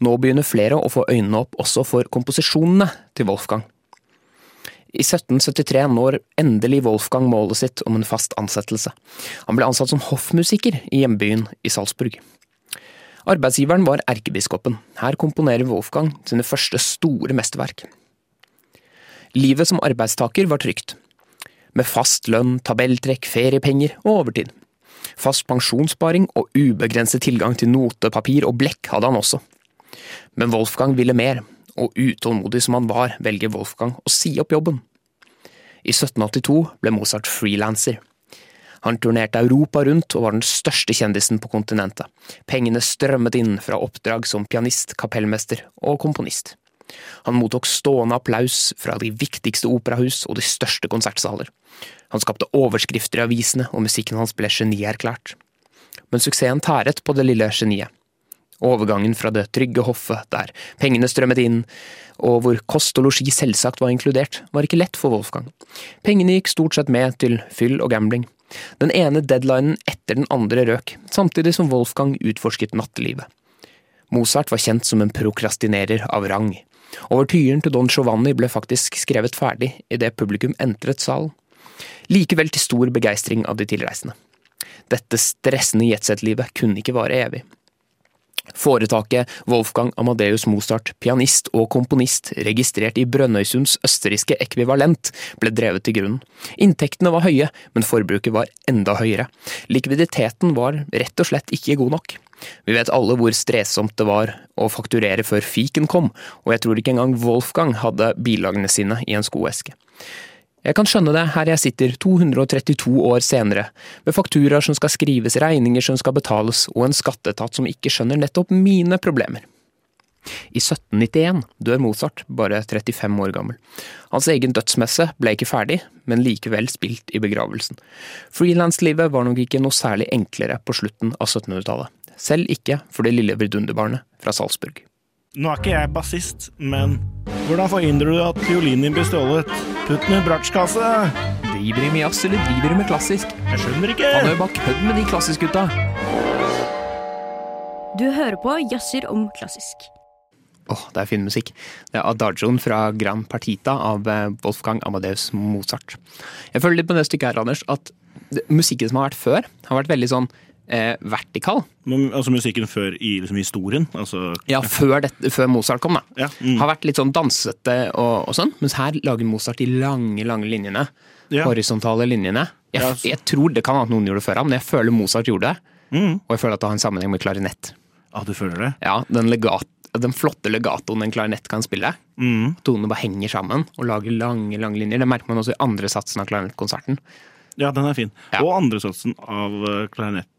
Nå begynner flere å få øynene opp også for komposisjonene til Wolfgang. I 1773 når endelig Wolfgang målet sitt om en fast ansettelse. Han ble ansatt som hoffmusiker i hjembyen i Salzburg. Arbeidsgiveren var erkebiskopen. Her komponerer Wolfgang sine første store mesterverk. Livet som arbeidstaker var trygt. Med fast lønn, tabelltrekk, feriepenger og overtid. Fast pensjonssparing og ubegrenset tilgang til notepapir og blekk hadde han også. Men Wolfgang ville mer, og utålmodig som han var, velger Wolfgang å si opp jobben. I 1782 ble Mozart frilanser. Han turnerte Europa rundt og var den største kjendisen på kontinentet. Pengene strømmet inn fra oppdrag som pianist, kapellmester og komponist. Han mottok stående applaus fra de viktigste operahus og de største konsertsaler. Han skapte overskrifter i avisene, og musikken hans ble genierklært. Men suksessen tæret på det lille geniet. Overgangen fra det trygge hoffet, der pengene strømmet inn, og hvor kost og losji selvsagt var inkludert, var ikke lett for Wolfgang. Pengene gikk stort sett med til fyll og gambling. Den ene deadlinen etter den andre røk, samtidig som Wolfgang utforsket nattelivet. Mozart var kjent som en prokrastinerer av rang. Overtyren til Don Giovanni ble faktisk skrevet ferdig idet publikum entret salen. Likevel til stor begeistring av de tilreisende. Dette stressende jetset-livet kunne ikke vare evig. Foretaket Wolfgang Amadeus Mozart, pianist og komponist, registrert i Brønnøysunds østerrikske ekvivalent, ble drevet til grunnen. Inntektene var høye, men forbruket var enda høyere. Likviditeten var rett og slett ikke god nok. Vi vet alle hvor stressomt det var å fakturere før fiken kom, og jeg tror ikke engang Wolfgang hadde bilagene sine i en skoeske. Jeg kan skjønne det her jeg sitter 232 år senere, med fakturaer som skal skrives, regninger som skal betales, og en skatteetat som ikke skjønner nettopp mine problemer. I 1791 dør Mozart, bare 35 år gammel. Hans egen dødsmesse ble ikke ferdig, men likevel spilt i begravelsen. Frilanslivet var nok ikke noe særlig enklere på slutten av 1700-tallet. Selv ikke for det lille vidunderbarnet fra Salzburg. Nå er ikke jeg bassist, men hvordan forhindrer du at fiolinen din blir stjålet? Putt den i bratsjkasse! Driver de med jazz, eller driver de med klassisk? Jeg skjønner ikke! Han er jo bare kødd med de klassiskgutta! Du hører på Jazzer om klassisk. Åh, det er fin musikk. Det er Adagioen fra Gran Partita av eh, Wolfgang Amadeus Mozart. Jeg føler litt på det stykket her, Anders, at det- musikken som har vært før, har vært veldig sånn eh, vertikal. Men, altså musikken før i liksom, historien, altså Ja, før, dette- før Mozart kom, da. Ja, mm. Har vært litt sånn dansete og, og sånn, mens her lager Mozart de lange, lange linjene. Ja. Horisontale linjene. Jeg, Ja, så- jeg tror det kan være at noen gjorde det før ham, men jeg føler Mozart gjorde det. Mm. Og jeg føler at det har en sammenheng med klarinett. Ah, du føler det? Ja, den, legat, den flotte legatoen en klarinett kan spille. Mm. Tonene bare henger sammen og lager lange lange linjer. Det merker man også i andre satsen av klarinettkonserten. Ja, den er fin. Ja. Og andresatsen av eh,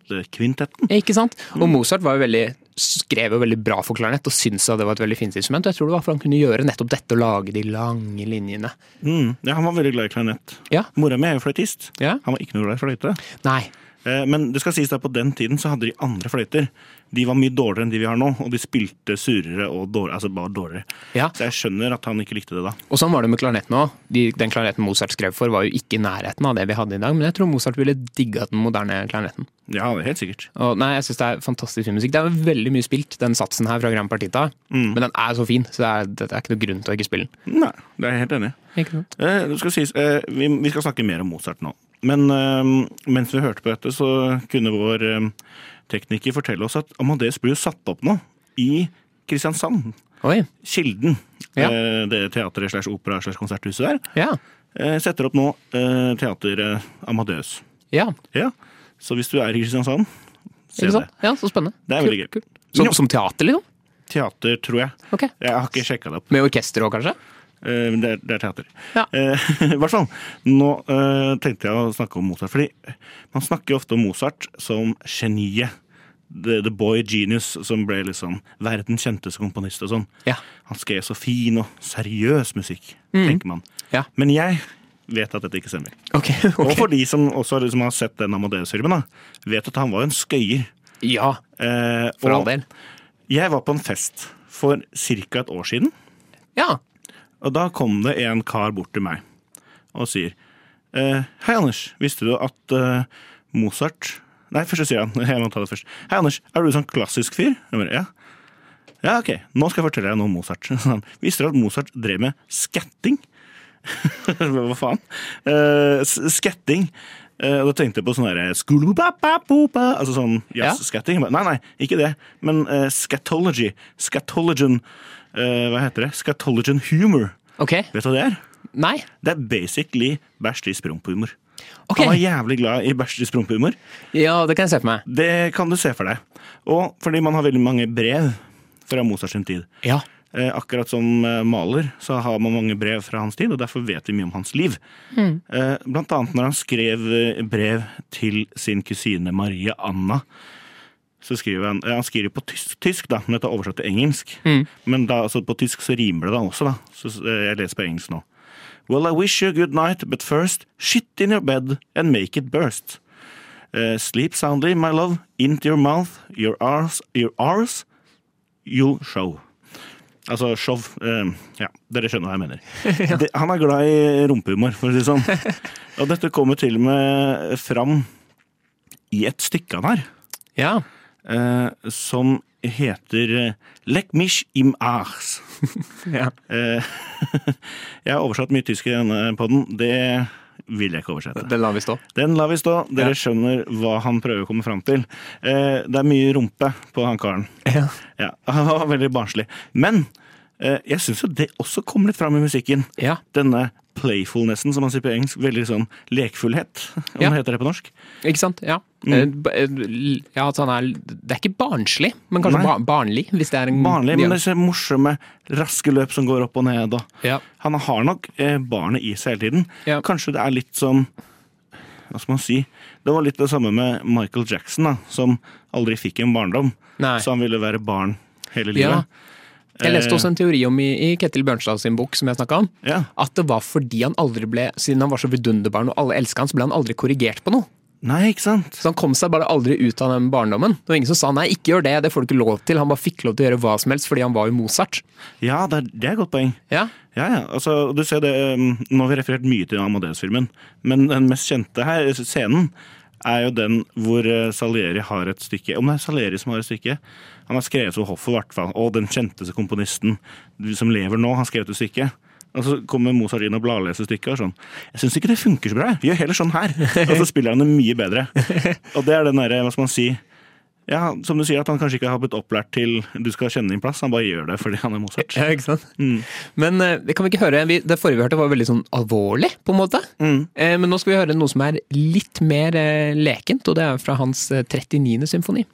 klarinettkvintetten. Ikke sant? Og Mozart var jo veldig, skrev jo veldig bra for klarinett og syntes at det var et veldig fint instrument. Og jeg tror det var for han kunne gjøre nettopp dette, å lage de lange linjene. Mm. Ja, han var veldig glad i klarinett. Ja. Mora mi er jo fløytist. Ja. Han var ikke noe glad i fløyte. Nei. Eh, Men det skal sies at på den tiden så hadde de andre fløyter. De var mye dårligere enn de vi har nå, og de spilte surere og dårligere. Altså bare dårligere. Ja. Så jeg skjønner at han ikke likte det da. Og sånn var det med klarinetten òg. De, den klarinetten Mozart skrev for, var jo ikke i nærheten av det vi hadde i dag, men jeg tror Mozart ville digga den moderne klarinetten. Ja, det er helt sikkert. Og nei, jeg syns det er fantastisk fin musikk. Det er veldig mye spilt, den satsen her fra Grand Partita, Mm. men den er så fin, så det er, det er ikke noe grunn til å ikke spille den. Nei, det er jeg helt enig i. Ikke sant? Eh, Det skal sies, eh, vi, vi skal snakke mer om Mozart nå. Men eh, mens vi hørte på dette, så kunne vår eh, tekniker fortelle oss at Amadeus ble jo satt opp nå i Kristiansand. Oi. Kilden. Ja. eh, Det teatret slash opera slash konserthuset der. Ja. eh, Setter opp nå eh, teateret Amadeus. Ja. Ja, så hvis du er i Kristiansand, se Ikke det. sant? Ja, så spennende. Det er veldig gøy. Kult, kult. Som, som teater, liksom? Teater, tror jeg. Ok. Jeg har ikke sjekka det opp. Med orkester òg, kanskje? Eh, men Det er, det er teater. Ja. Eh, I hvert fall. Nå eh, tenkte jeg å snakke om Mozart. Fordi man snakker jo ofte om Mozart som geniet. The, the boy genius som ble liksom verdens kjenteste komponist og sånn. Ja. Mm. Han skrev så fin og seriøs musikk, tenker man. Ja. Men jeg vet at dette ikke stemmer. Ok. Og for de som også liksom har sett den Amadeus-filmen, da, vet at han var en skøyer. Ja, Eh, for all og- del. Jeg var på en fest for ca. et år siden, Ja. og da kom det en kar bort til meg og sier eh, Hei, Anders, visste du at eh, Mozart Nei, først så sier han Jeg må ta det først. Hei, Anders, er du sånn klassisk fyr? Jeg bare, ja. Ja, ok, nå skal jeg fortelle deg noe om Mozart. Så han, Visste du at Mozart drev med skatting? Hva faen? Eh, s- skatting. Eh, og da tenkte jeg på sånn derre skulubapapapa, Altså sånn jazz-skatting. Jeg bare, Nei, nei, ikke det. Men eh, scatology. Scatologen eh, Hva heter det? Scatologen humor. Ok. Vet du hva det er? Nei. Det er basically bæsj til sprumphumor. Ok. Han var jævlig glad i bæsj til sprumphumor. Ja, det kan jeg se for meg. Det kan du se for deg. Og fordi man har veldig mange brev fra Mozart sin tid. Ja. Eh, akkurat som eh, maler så har man mange brev fra hans tid, og derfor vet vi mye om hans liv. Eh, blant annet når han skrev eh, brev til sin kusine Marie Anna. Så skriver Han ja, han skriver på tysk, tysk da, men dette er oversatt til engelsk. Men da, altså, på tysk så rimer det da også, da. Så, eh, jeg leser på engelsk nå. Well, I wish you a good night, but first, shit in your bed and make it burst. Eh, sleep soundly, my love, into your mouth, your arse, your arse, you'll show. Altså show. eh, ja, dere skjønner hva jeg mener. Det, han er glad i rumpehumor, for å si det sånn. Og dette kommer til og med fram i et stykke han har, Ja. eh, som heter eh, Lek mich im Ars. ja. Eh, jeg har oversatt mye tysk i denne podden. Det vil jeg ikke oversette. Den lar vi stå. Den lar vi stå. Dere Ja. skjønner hva han prøver å komme fram til. Eh, det er mye rumpe på han karen. Ja. Ja, han var veldig barnslig. Men eh, jeg syns jo det også kom litt fram i musikken. Ja. Denne playfulnessen, som man sier på engelsk. Veldig sånn lekfullhet, om Ja. det heter det på norsk. Ikke sant? Ja. Mm. Eh, ba- eh, l- ja at han er, det er ikke barnslig, men kanskje Nei. ba barnlig, hvis det er en Barnlig, Mm, men ja. disse morsomme, raske løp som går opp og ned. Og. Ja. Han har nok eh, barnet i seg hele tiden. Ja. Kanskje det er litt som Hva skal man si? Det var litt det samme med Michael Jackson, da, som aldri fikk en barndom. Nei. Så han ville være barn Ja. hele livet. Jeg leste Eh, også en teori om i, i Ketil Bjørnstad sin bok, som jeg snakka om, Ja. at det var fordi han aldri ble Siden han var så vidunderbarn og alle elska han, så ble han aldri korrigert på noe. Nei, ikke sant? Så han kom seg bare aldri ut av den barndommen. Det var ingen som sa nei, ikke gjør det, det får du ikke lov til. Han bare fikk lov til å gjøre hva som helst fordi han var jo Mozart. Ja, det er, det er et godt poeng. Ja, Ja, ja. Altså, du ser det, um, nå har vi referert mye til Amadeus-filmen, men den mest kjente her, scenen er jo den hvor eh, Salieri har et stykke Om det er Salieri som har et stykke? Han har skrevet for hoffet, i hvert fall. Og den kjenteste komponisten som lever nå, har skrevet et stykke. Og så kommer Mozart inn og bladleser stykket og sånn. Jeg syns ikke det funker så bra. jeg. Gjør heller sånn her. Og så spiller han det mye bedre. Og det er den derre, hva skal man si Ja, Som du sier, at han kanskje ikke har blitt opplært til du skal kjenne din plass. Han bare gjør det fordi han er Mozart. Ja, ikke sant? Men eh, det kan vi ikke høre. Vi, det forrige vi hørte var veldig sånn alvorlig, på en måte. Mm. Eh, men nå skal vi høre noe som er litt mer eh, lekent, og det er fra hans eh, 39. symfoni.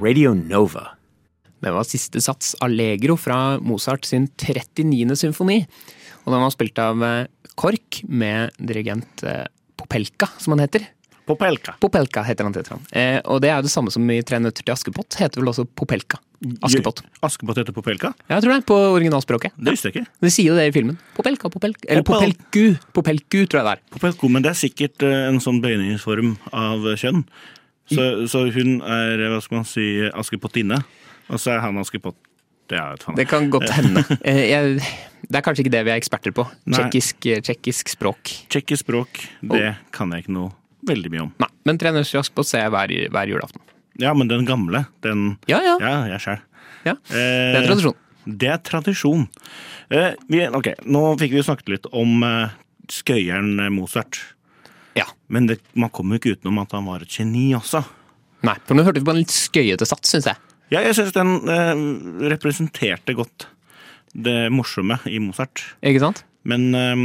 Radio Nova. Det var siste sats Allegro fra Mozart sin 39. symfoni. Og den var spilt av eh, KORK med dirigent eh, Popelka, som han heter. Popelka. Popelka heter han, heter han. Eh, og det er jo det samme som i Tre nøtter til Askepott, heter vel også Popelka. Askepott. Askepott heter Popelka? Ja, jeg tror det, på originalspråket. Det visste jeg ikke. De sier jo det i filmen. Popelka, popelka. Eller Popel- popelku. Popelku, tror jeg det er. Popelko, men det er sikkert eh, en sånn bøyningsform av eh, kjønn. Så, så hun er, eh, hva skal man si, askepottinne, og så er han askepott... Det er jo et faen. Det kan godt hende. Eh, jeg, det er kanskje ikke det vi er eksperter på. Nei. Tsjekkisk eh, tsjekkisk språk. Tsjekkisk språk, det kan jeg ikke noe veldig mye om. Nei, men Tre nøtter til Askepott ser jeg hver, hver julaften. Ja, men den gamle, den Ja, ja. Ja, jeg sjæl. Eh, ja. Det er tradisjon. Det er tradisjon. Eh, vi, ok, nå fikk vi jo snakket litt om eh, skøyeren Mozart. Eh. Ja. Men det, man kommer jo ikke utenom at han var et geni også. Nei, for nå hørte vi på en litt skøyete sats, syns jeg. Ja, jeg syns den eh, representerte godt det morsomme i Mozart. Ikke sant? Men eh,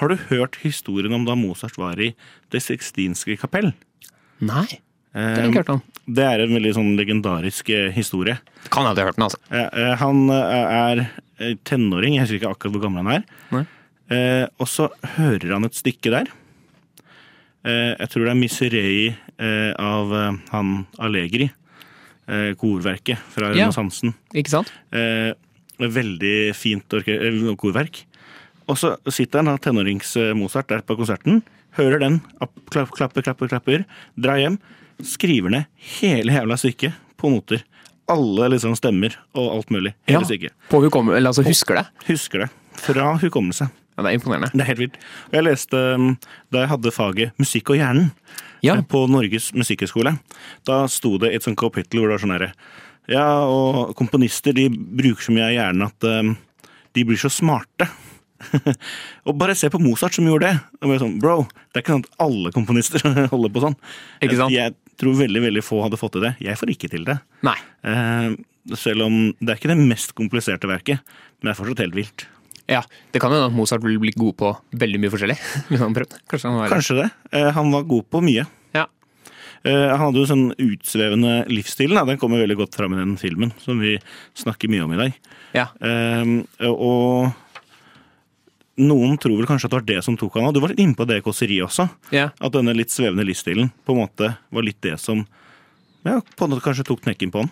har du hørt historien om da Mozart var i Det sixtinske kapell? Nei, det har jeg Eh, ikke hørt om. det er en veldig sånn legendarisk eh, historie. Kan jeg ha hørt den, altså. Eh, eh, Han eh, er tenåring, jeg husker ikke akkurat hvor gammel han er. Nei. Eh, og så hører han et stykke der. Eh, jeg tror det er 'Miserei' eh, av eh, han Allegri. Eh, korverket fra Ja. renessansen. Ikke sant? Eh, veldig fint orke- eh, korverk. Og så sitter han, da, tenårings-Mozart, der på konserten. Hører den. App, klapp, klapper, klapper, klapper. Drar hjem. Skriver ned hele jævla stykket på noter. Alle liksom stemmer og alt mulig. Hele stykket. På hukommel- eller altså husker det. Husker det. Fra hukommelse. Ja, det er imponerende. Det er helt vilt. Og jeg leste um, da jeg hadde faget musikk og hjernen Ja. eh, på Norges musikkhøgskole. Da sto det et sånt kapittel hvor det var sånn herre Ja, og komponister de bruker så mye av hjernen at um, de blir så smarte. og bare se på Mozart som gjorde det. Og bare sånn, Bro, det er ikke sånn at alle komponister holder på sånn. Ikke sant? Jeg tror veldig veldig få hadde fått til det. Jeg får ikke til det. Nei. Eh, selv om det er ikke det mest kompliserte verket, men det er fortsatt helt vilt. Ja, det kan jo hende at Mozart vil bli god på veldig mye forskjellig. Hvis han prøvde. Kanskje han var Kanskje det. Eh, Han var god på mye. Ja. Eh, Han hadde jo sånn utsvevende livsstil. Da. Den kommer veldig godt fram i den filmen som vi snakker mye om i dag. ja. Eh, Og noen tror vel kanskje at det var det som tok han av. Du var litt inne på det kåseriet også. ja. At denne litt svevende livsstilen på en måte var litt det som ja, på en måte kanskje tok knekken på han.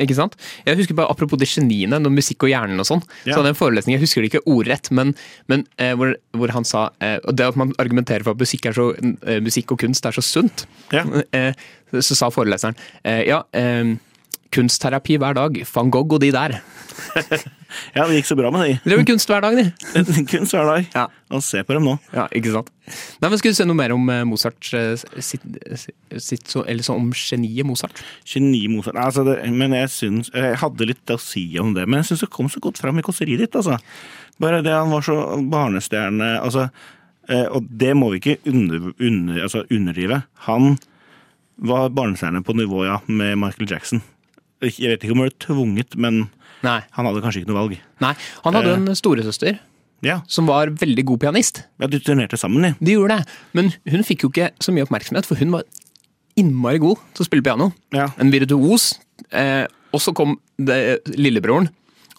Ikke sant? Jeg husker bare Apropos de geniene, noe musikk og hjernen og sånn. Så Ja. hadde jeg en forelesning, jeg husker det ikke ordrett, men, men eh, hvor, hvor han sa eh, og Det at man argumenterer for at musikk, er så, eh, musikk og kunst er så sunt, Ja. eh, så sa foreleseren eh, ja, eh, kunstterapi hver dag. Van Gogh og de der. ja, det gikk så bra med det. De drev med kunst hver dag, de. Kunst hver dag. Ja. Og se på dem nå. Ja, ikke sant? Nei, men Skal du se noe mer om eh, Mozart, eh, sitt, sitt, så, eller så om geniet Mozart? Geni Mozart. Nei, Altså det, men jeg syns Jeg hadde litt å si om det, men jeg syns det kom så godt fram i kåseriet ditt, altså. Bare det han var så barnestjerne Altså, eh, og det må vi ikke under, under, altså underdrive. Han var barnestjerne på nivå, ja, med Michael Jackson. Ikke- Jeg vet ikke om han ble tvunget, men Nei. han hadde kanskje ikke noe valg. Nei. Han hadde en storesøster Ja, som var veldig god pianist. ja de turnerte sammen, de. De gjorde det, men hun fikk jo ikke så mye oppmerksomhet, for hun var innmari god til å spille piano. Ja. En virtuos. Eh, og så kom det, eh, lillebroren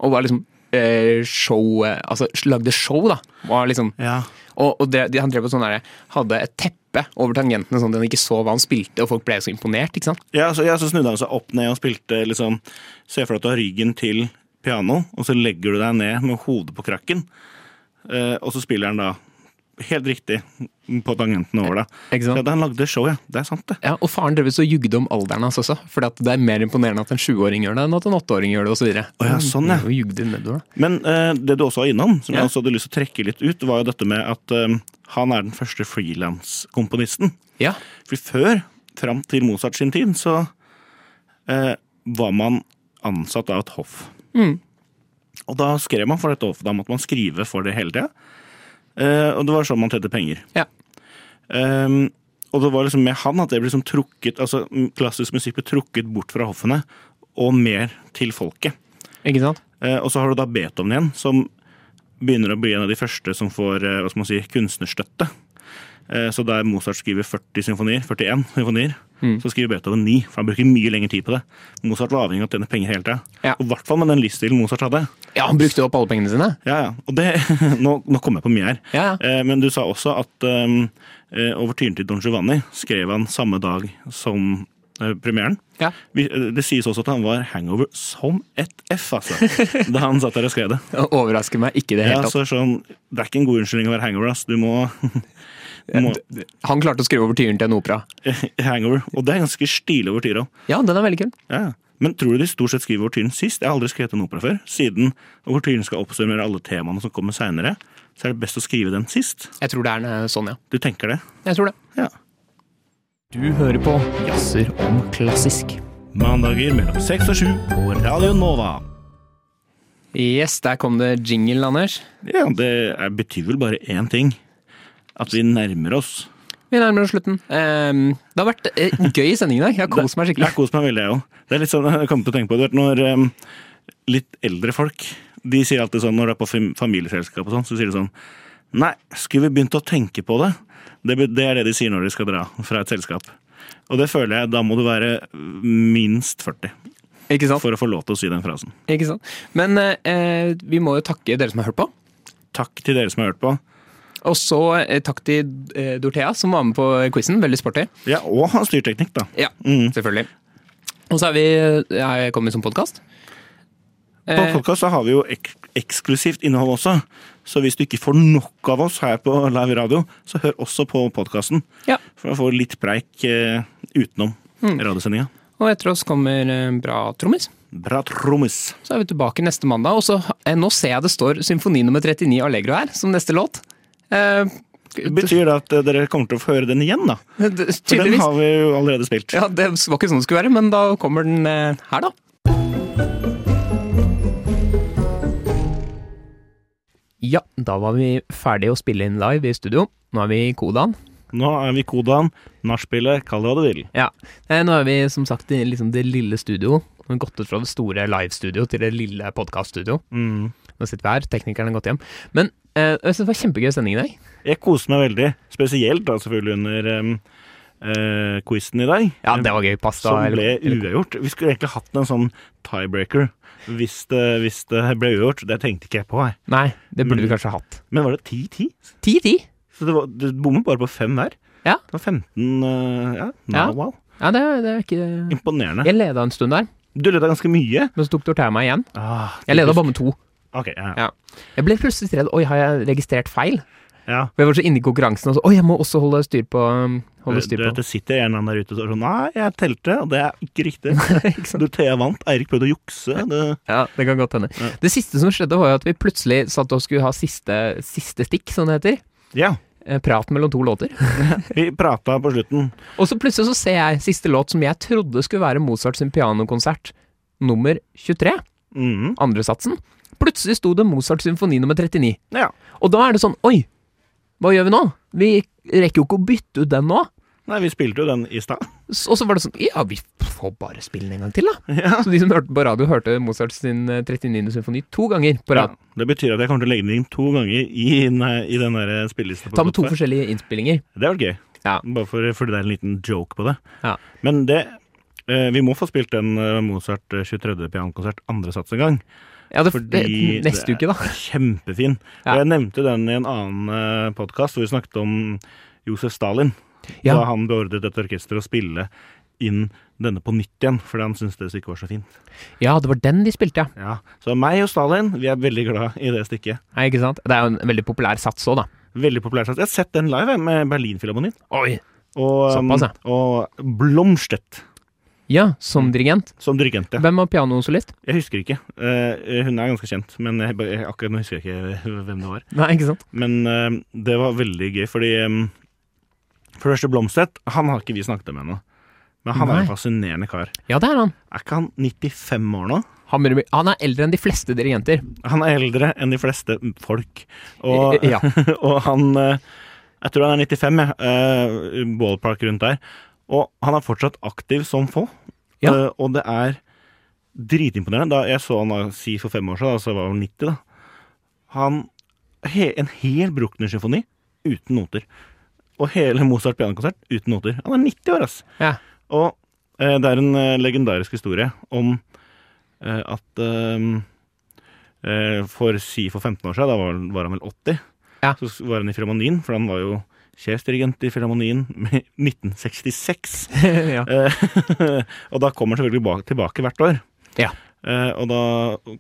og var liksom eh, show eh, Altså lagde show, da. Var liksom, Ja. Og, og det, de, han drev på sånn derre Hadde et teppe over tangentene, sånn at han ikke så hva han spilte, og folk ble så imponert, ikke sant. Ja, så, ja, så snudde han seg opp ned og spilte liksom Se for deg at du har ryggen til piano, og så legger du deg ned med hodet på krakken. Eh, og så spiller han da helt riktig på tangenten over deg. Eh, Ikke sant? Ja, da han lagde show, ja. Det er sant, det. Ja, og faren drev så og jugde om alderen hans også, for det er mer imponerende at en sjuåring gjør det, enn at en åtteåring gjør Mm. det, osv. Å ja, sånn, ja. Og jugde nedover, da. Men eh, det du også var innom, som Ja. jeg også hadde lyst til å trekke litt ut, var jo dette med at eh, han er den første frilanskomponisten. Ja, For før, fram til Mozart sin tid, så eh, var man ansatt av et hoff. Og da skrev man for dette hoffet. Da måtte man skrive for det hele tida. Eh, og det var sånn man tjente penger. Ja. Ehm, og det var liksom med han at det ble liksom trukket, altså m- klassisk musikk ble trukket bort fra hoffene og mer til folket. Ikke sant? Eh, og så har du da Beethoven igjen, som begynner å bli en av de første som får eh, hva skal man si, kunstnerstøtte. Eh, så der Mozart skriver 40 symfonier, 41 symfonier, Mm. så skriver Beethoven 9, for han bruker mye lengre tid på det. Mozart var avhengig av å tjene penger hele tida. Ja. Og i hvert fall med den livsstilen Mozart hadde. Ja, han brukte opp alle pengene sine. Ja, ja. Og det, nå, nå kom jeg på mye her. Ja, ja. Eh, men du sa også at um, eh, overtyren til Don Giovanni skrev han samme dag som eh, premieren. Ja. Vi, eh, det sies også at han var hangover som et F, altså. Da han satt der og skrev det. Overrasker meg ikke i det Ja, hele tatt. så sånn, det er ikke en god unnskyldning å være hangover, ass. Du må, du må Han klarte å skrive overtyren til en opera. hangover. Og det er ganske stilig overtyr òg. Ja, den er veldig kul. Ja. ja. Men tror du de stort sett skriver overtyren sist? Jeg har aldri skrevet en opera før. Siden overtyren skal oppsummere alle temaene som kommer seinere, så er det best å skrive den sist. Jeg tror det er eh, sånn, ja. Du tenker det? Jeg tror det. Ja. Du hører på Jazzer om klassisk. Mandager mellom seks og sju på Radio Nova. Yes, der kom det jingle, Anders. Ja, det er, betyr vel bare én ting. At vi nærmer oss. Vi nærmer oss slutten. Ehm, det har vært eh, gøy sending i dag. Jeg har kost meg Jeg skikkelig. koser meg veldig, jeg òg. Det er litt sånn jeg kom til å tenke på det, når em, litt eldre folk de sier alltid sånn når det er på fam- familieselskap og sånn, så sier de sånn Nei, skulle vi begynt å tenke på det? det? be- Det er det de sier når de skal dra fra et selskap. Og det føler jeg, da må du være minst 40 Ikke sant? for å få lov til å si den frasen. Ikke sant? Men eh, vi må jo takke dere som har hørt på. Takk til dere som har hørt på. Og så eh, takk til eh, Dorthea, som var med på quizen. Veldig sporty. Ja, og ha styrteknikk, da. Ja, selvfølgelig. Og så er vi eh, er jeg kommet som podkast. På Eh. podcast så har vi jo ek eksklusivt innhold også. Så hvis du ikke får nok av oss her på live radio, så hør også på podkasten. ja. For å få litt preik eh, utenom Hmm. radiosendinga. Og etter oss kommer eh, Bra trommis. Bra trommis. Så er vi tilbake neste mandag. Og så, eh, nå ser jeg det står symfoni nummer 39 Allegro her, som neste låt. Eh, Det betyr da at eh, dere kommer til å få høre den igjen, da. d- d- For den tydeligvis. har vi jo allerede spilt. Ja, det var ikke sånn det skulle være, men da kommer den eh, her, da. Ja, da var vi ferdige å spille inn live i studio. Nå er vi i kodaen. Nå er vi Kodan, nachspielet, kall det hva du vil. Ja. Eh, Nå er vi som sagt i liksom det lille studio. Nå har vi gått ut fra det store livestudio til det lille podkaststudio. Mm. Nå sitter vi her, teknikeren har gått hjem. Men eh, jeg synes det var kjempegøy sending i dag. Jeg koser meg veldig. Spesielt da selvfølgelig under um, eh, quizen i dag. Ja, det var gøy. Pasta Som ble eller- eller- uavgjort. Vi skulle egentlig hatt en sånn tiebreaker hvis det, hvis det ble uavgjort. Det tenkte ikke jeg på. Jeg. Nei, det burde vi Mm. kanskje ha hatt. Men var det 10-10? 10-10. Så det, var, det bommet bare på fem hver. Ja. Det var 15 eh, Ja, nå, Ja. wow. Ja, det, er- det er Mm. ikke Imponerende. Jeg leda en stund der, Du leda ganske mye. men så tok Dorthea meg igjen. Ah, Jeg leda typisk. bare med to. Ok, ja. Ja. Jeg ble plutselig redd. Oi, har jeg registrert feil? ja. For jeg var så inne i konkurransen og så Oi, jeg må også holde styr på um, Du, Holde du styr vet, på det sitter en eller annen der ute og sier sånn Nei, jeg telte, og det er ikke riktig. du, Thea vant. Eirik prøvde å jukse. Det, Ja, det kan godt hende. Det siste som skjedde, var jo at vi plutselig satt og skulle ha siste, siste stikk, som det heter. ja. Eh, Prat mellom to låter. Vi prata på slutten. Og så plutselig så ser jeg siste låt som jeg trodde skulle være Mozart sin pianokonsert nummer 23, Mhm. andre satsen. Plutselig sto det Mozart symfoni nummer 39. Ja. Og da er det sånn Oi, hva gjør vi nå? Vi rekker jo ikke å bytte ut den nå. Nei, vi spilte jo den i stad. S- Og så var det sånn Ja, vi får bare spille den en gang til, da. Så de som hørte på radio, hørte Mozart sin eh, 39. symfoni to ganger på rad. Ja, det betyr at jeg kommer til å legge den inn to ganger i, den her- i den der eh, spillelista. på Ta med to Spotify. forskjellige innspillinger. Det var gøy. Ja. Bare for, fordi det er en liten joke på det. Ja. Men det eh, Vi må få spilt den eh, Mozart eh, 23. pianokonsert andre sats en gang. Ja, det, Fordi det, neste det uke, da. er Kjempefin. Ja. Og jeg nevnte den i en annen podkast hvor vi snakket om Josef Stalin. Ja. Da han beordret et orkester å spille inn denne på nytt igjen, fordi han syntes det stykket var så fint. Ja, det var den de spilte, ja. Ja. Så meg og Stalin, vi er veldig glad i det stykket. Nei, ikke sant? Det er jo en veldig populær sats òg, da. Veldig populær sats. Jeg har sett den live jeg, med Berlinfilharmonien. Oi. Og, um, Såpass, ja. og Blomstedt Ja, som dirigent. som dirigent. Ja. Hvem var pianosolist? Jeg husker ikke. Eh, hun er ganske kjent, men jeg, bare- jeg, akkurat nå husker jeg ikke hvem det var. Nei, ikke sant? Men eh, det var veldig gøy, fordi eh, For det første, Blomstedt han har ikke vi snakket om ennå. Men han er Nei. en fascinerende kar. Ja, det er han. Er ikke han 95 år nå? Han, burde bli- han er eldre enn de fleste dirigenter. Han er eldre enn de fleste folk. Og, Ja. og han eh, Jeg tror han er 95, jeg. eh, Ballpark rundt der. Og han er fortsatt aktiv som få. Ja. Eh, og det er dritimponerende. Da jeg så han da, si for fem år siden, da, så var han 90, da. Han he, En hel Bruckner-symfoni uten noter. Og hele Mozart pianokonsert uten noter. Han er 90 år, ass. Ja. Og eh, det er en eh, legendarisk historie om eh, at eh, eh, For si for 15 år siden, da var, var han vel 80, Ja. så s- var han i Filharmonien, for han var jo sjefsdirigent i Filharmonien med 1966. ja. Eh, og da kommer han selvfølgelig bak, tilbake hvert år. Ja. Eh, og da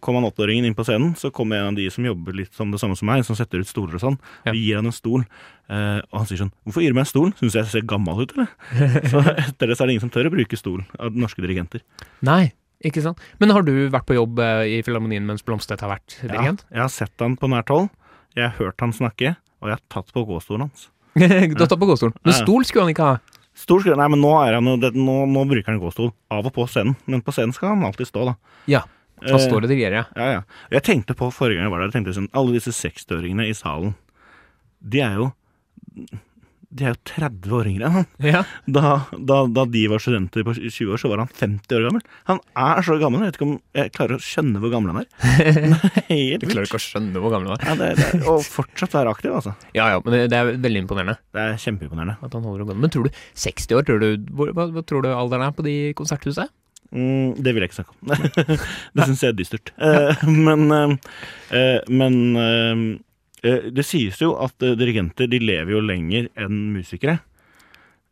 kom han åtteåringen inn på scenen, så kom en av de som jobber litt som det samme som meg, som setter ut stoler og sånn, Ja. og gir han en stol. Eh, og han sier sånn 'Hvorfor gir du meg en stol? Syns jeg ser gammel ut, eller?' så etter det så er det ingen som tør å bruke stol av norske dirigenter. Nei, ikke sant. Men har du vært på jobb eh, i Filharmonien mens Blomstedt har vært dirigent? Ja, jeg har sett han på nært hold, jeg har hørt han snakke, og jeg har tatt på gåstolen hans. du har tatt på gåstolen. Men Ja, ja. stol skulle han ikke ha. Stor skru- Nei, men nå, er han jo, det, nå, nå bruker han gåstol av og på scenen, men på scenen skal han alltid stå, da. Ja, han Eh, står og dirigerer, ja. Ja, ja. Og Jeg tenkte på forrige gang jeg var der, jeg tenkte sånn, alle disse 60-åringene i salen, de er jo de er jo 30 år yngre enn han. Ja, Da, da, da de var studenter på 20 år, så var han 50 år gammel. Han er så gammel, jeg vet ikke om jeg klarer å skjønne hvor gammel han er. Det er Du Helt klarer ikke å skjønne hvor gammel han er. Ja, det, det, og fortsatt være aktiv, altså. Ja ja, men det, det er veldig imponerende Det er kjempeimponerende. at han holder det gående. Men tror du 60 år, tror du, hvor, hva, hva tror du alderen er på de konserthuset? Mm, det vil jeg ikke snakke om. det syns jeg er dystert. Eh, men eh, eh, men eh, eh, det sies jo at eh, dirigenter de lever jo lenger enn musikere.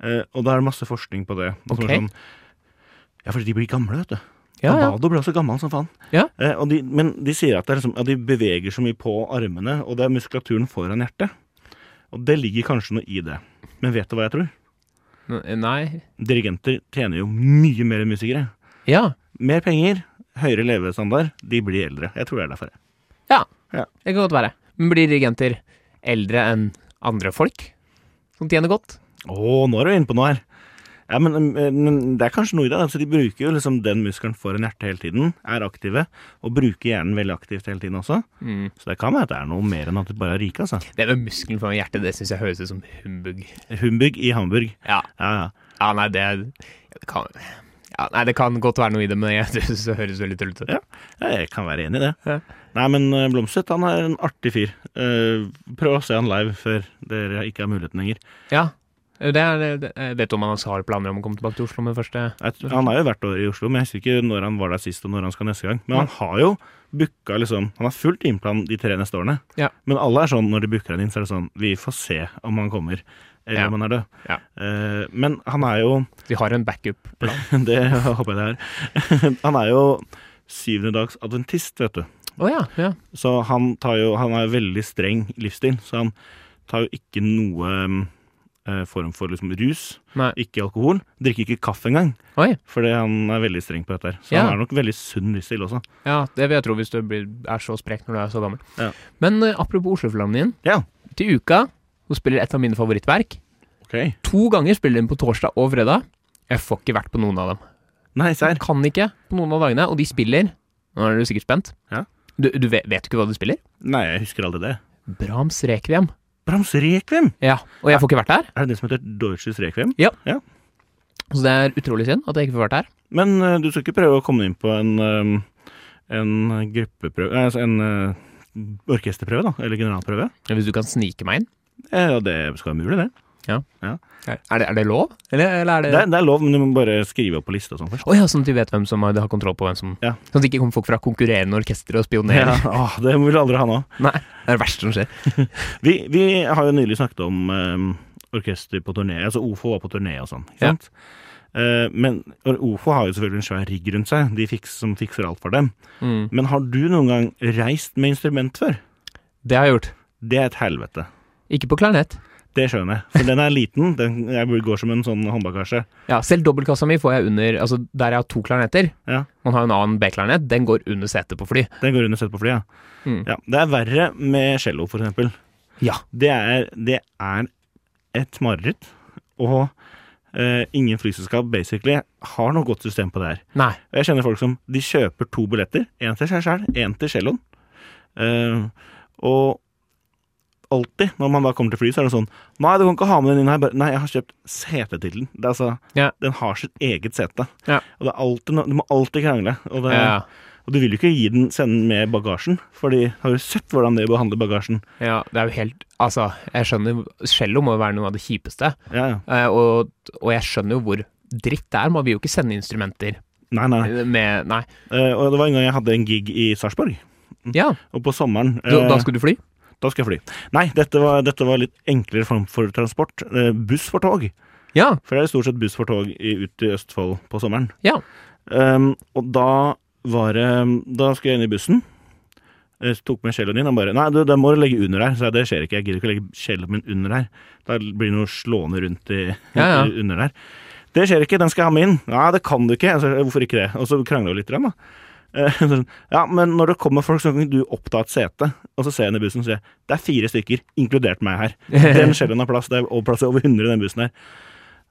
Eh, og da er det masse forskning på det. som er Ok. sånn- ja, fordi de blir gamle, vet du. Ja, ja. Abado ble også gammel som faen. Ja. Eh, og de, men de sier at, det er liksom, at de beveger så mye på armene, og det er muskulaturen foran hjertet. Og det ligger kanskje noe i det. Men vet du hva jeg tror? N- eh, Nei. Dirigenter tjener jo mye mer enn musikere. Ja. Mer penger, høyere levestandard, de blir eldre. Jeg tror det er derfor. Ja. Ja. Det kan godt være. Men blir dirigenter eldre enn andre folk som tjener godt? Å, nå er du inne på noe her. Ja, men, eh, men det er kanskje noe i det. Altså, de bruker jo liksom den muskelen foran hjertet hele tiden, er aktive, og bruker hjernen veldig aktivt hele tiden også. Så det kan være at det er noe mer enn at de bare er rike, altså. Det med muskelen foran hjertet, det syns jeg høres ut som humbug. Humbug i Hamburg. Ja. Ja, ja. Ja, nei, det, det kan ja, Nei, det kan godt være noe i det, men jeg synes det høres veldig tullete ut. Ja. Jeg kan være enig i det. Ja. Nei, men eh, Blomstedt, han er en artig fyr. Eh, prøv å se han live før dere ikke har muligheten lenger. Ja. Det er, det, jeg vet du om han har planer om å komme tilbake til Oslo med første Jeg tr- Han er jo hvert år i Oslo, men jeg husker ikke når han var der sist og når han skal neste gang. Men han har jo booka liksom Han har full timeplan de tre neste årene. Ja. Men alle er sånn når de booker han inn, så er det sånn Vi får se om han kommer, eller Ja. om han er død. Ja. Eh, men han er jo De har en backup-plan. Det håper jeg det er. han er jo syvendedags adventist, vet du. Å ja, ja. Så han tar jo Han er veldig streng livsstil, så han tar jo ikke noe eh, form for liksom rus. Nei. Ikke alkohol. Drikker ikke kaffe engang. Oi. Fordi han er veldig streng på dette her. Så Ja. han er nok veldig sunn livsstil også. Ja, det vil jeg tro hvis du blir, er så sprek når du er så gammel. Ja. Men eh, apropos Oslofilharmonien. Ja. Til uka så spiller et av mine favorittverk. To ganger spiller de på torsdag og fredag. Jeg får ikke vært på noen av dem. Nei, serr. Jeg kan ikke på noen av dagene, og de spiller Nå er du sikkert spent. Ja. Du, du vet, vet du ikke hva de spiller? Nei, jeg husker aldri det. Brahms Rekviem. Brahms Rekviem! Ja, og jeg får ikke vært der, Er det det som heter Deutsches Rekviem? så det er utrolig synd at jeg ikke får vært der. Men eh, du skal ikke prøve å komme inn på en, eh, en gruppeprøve Nei, altså en eh, orkesterprøve, da? Eller generalprøve? Men Hvis du kan snike meg inn. Eh, Ja, det skal være mulig, det. Er det, er det lov? Eller, eller er det. det er- Det er lov, men du må bare skrive opp på lista og sånn først. Å ja, sånn at de vet hvem som har, de har kontroll på hvem som Ja. Sånn at det ikke kommer folk fra konkurrerende orkestre og Ja, spionerer. åh, det vil aldri ha nå. Nei, det er det verste som skjer. Vi, vi har jo nylig snakket om eh, orkester på turné, altså OFO var på turné og sånn, ikke Ja. sant? Eh, men og OFO har jo selvfølgelig en svær rigg rundt seg, de fiks, som fikser alt for dem. Mm. Men har du noen gang reist med instrument før? Det har jeg gjort. Det er et helvete. Ikke på klarinett. Det skjønner jeg, for den er liten, den jeg går som en sånn håndbagasje. Ja, selv dobbeltkassa mi får jeg under Altså, der jeg har to klarinetter Ja. Man har jo en annen B-klarinett, den går under setet på fly. Den går under sett på flyet. Mm. Ja, det er verre med cello, for eksempel. Ja. Det er, det er et mareritt, og Eh, ingen flyselskap basically har noe godt system på det her. Nei. Og Jeg kjenner folk som de kjøper to billetter. Én til seg sjøl, én til celloen. Eh, og alltid når man da kommer til fly, så er det sånn Nei, du kan ikke ha med den inn her. Bare, Nei, jeg har kjøpt setetittelen. Det er altså, Ja. Den har sitt eget sete. Ja. Og det er alltid, no- du må alltid krangle. Og, det, Ja, og du vil jo ikke gi den, sende den med bagasjen, Fordi har du sett hvordan de behandler bagasjen? ja, det er jo helt Altså, jeg skjønner Cello må jo være noe av det kjipeste. Ja, ja. Eh, Og, og jeg skjønner jo hvor dritt det er. Man vil jo ikke sende instrumenter Nei, nei. nei. med Nei. Eh, og det var en gang jeg hadde en gig i Sarpsborg. Ja, Og på sommeren du, Mm. eh, da skulle du fly? Da skal jeg fly. Nei, dette var, dette var litt enklere form for transport. Eh, buss for tog. Ja. For det er stort sett buss for tog i, ut i Østfold på sommeren. Ja. Ehm, og da var det Da skulle jeg inn i bussen. Jeg tok med kjelen din og bare Nei, du, den må du legge under her. Så jeg, det skjer ikke. Jeg gidder ikke å legge kjelen min under her. Da blir det noe slående rundt i, Ja, ja. under der. Det skjer ikke, den skal jeg ha med inn. Nei, det kan du ikke. Altså, hvorfor ikke det? Og så krangler vi litt, grann, da. Eh, sånn, Ja, men når det kommer folk, så kan ikke du oppta et sete. Og så ser jeg henne i bussen og sier jeg, det er fire stykker, inkludert meg her. Den skjellen har plass. Det er over- plass til over 100 i den bussen her.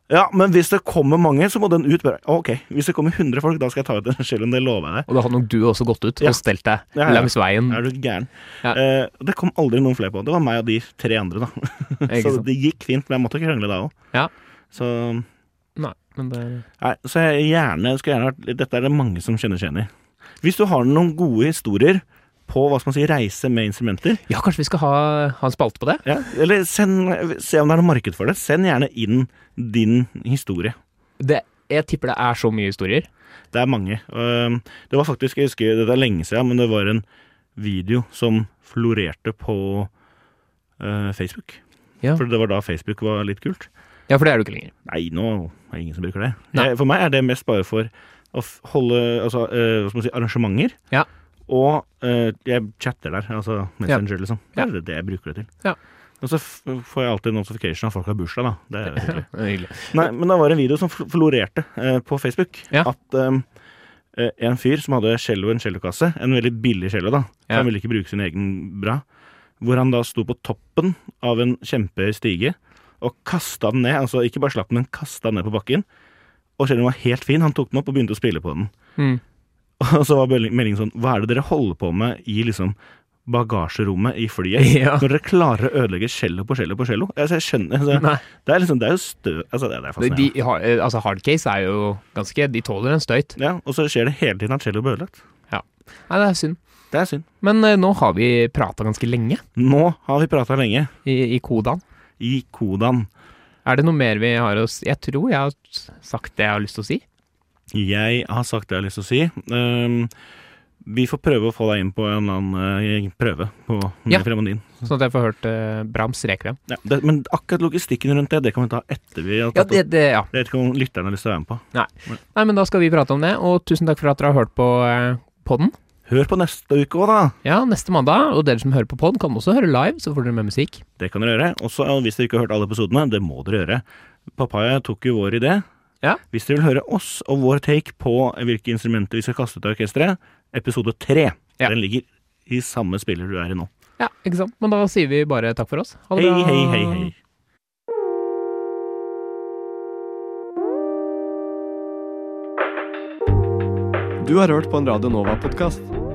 Ja, men hvis det kommer mange, så må den ut. Bare, ok, hvis det kommer 100 folk, da skal jeg ta ut den skjellen. Det lover jeg deg. Og da hadde nok du også gått ut Ja. og stelt deg Ja, ja. langs veien. Er du gæren? Ja. Eh, det kom aldri noen flere på. Det var meg og de tre andre, da. Ikke så sant? det gikk fint, men jeg måtte krangle da òg. Ja. Så, Nei, men det er nei, så jeg gjerne, skulle gjerne vært Dette er det mange som kjenner seg igjen i. Hvis du har noen gode historier på hva skal man si, reise med instrumenter, Ja, kanskje vi skal ha, ha en spalte på det? ja, eller send, se om det er noe marked for det. Send gjerne inn din historie. det? Jeg tipper det er så mye historier. Det er mange. Ehm, Det var faktisk, jeg husker, dette er lenge siden, men det var en video som florerte på eh, Facebook. Ja. For det var da Facebook var litt kult. Ja, for det er du ikke lenger. Nei, nå er det ingen som bruker det. Nei. Jeg, for meg er det mest bare for å f- holde altså, eh, hva skal man si, arrangementer. Ja. Og eh, jeg chatter der, altså Messenger, liksom. Det Ja. er det, det jeg bruker det til. Ja. Og så f får jeg alltid notification av folk har bursdag, da. Det er jo hyggelig. Det er hyggelig. Nei, men da var det en video som fl- florerte eh, på Facebook. Ja. At eh, eh, en fyr som hadde cello i en cellokasse, en veldig billig cello, da, for Ja. han ville ikke bruke sin egen bra, hvor han da sto på toppen av en kjempehøy stige og kasta den ned. Altså ikke bare slapp den, men kasta den ned på bakken. Og celloen var helt fin. Han tok den opp og begynte å spille på den. Mm. Og så var melding- meldingen sånn Hva er det dere holder på med i liksom bagasjerommet i flyet? Ja. Når dere klarer å ødelegge cello på cello på cello? Altså, jeg skjønner altså, Nei. Det er liksom, det er jo stø... Altså, det, det er De, fascinerende. de har, eh, altså Hardcase er jo ganske De tåler en støyt. Ja, og så skjer det hele tiden at cello blir ødelagt. Nei, det er synd. Det er synd. Men eh, nå har vi prata ganske lenge Nå har vi prata lenge i, i kodaen. i Kodan. Er det noe mer vi har å si? Jeg tror jeg har sagt det jeg har lyst til å si. Jeg har sagt det jeg har lyst til å si. Ehm, vi får prøve å få deg inn på en eller annen eh, prøve på med Ja. Fremandin. Sånn at jeg får hørt eh, Brahms rekviem. Ja, det, men akkurat logistikken rundt det, det kan vi ta etter vi Ja, har tatt det, opp. det, ja. Jeg vet ikke om lytterne har lyst til å være med på. Nei, men da skal vi prate om det. Og tusen takk for at dere har hørt på eh, podden. Hør på neste uke òg, da! Ja, neste mandag. Og dere som hører på podden, kan også høre live, så får dere med musikk. Det kan dere gjøre. Også eh, hvis dere ikke har hørt alle episodene, det må dere gjøre. Papaya tok jo vår idé. Ja. Hvis dere vil høre oss og vår take på hvilke instrumenter vi skal kaste ut av orkesteret, episode tre. Ja. Den ligger i samme spiller du er i nå. Ja, ikke sant. Men da sier vi bare takk for oss. Ha det Hei, bra. hei, hei, hei. Du har hørt på en Radio Nova-podkast.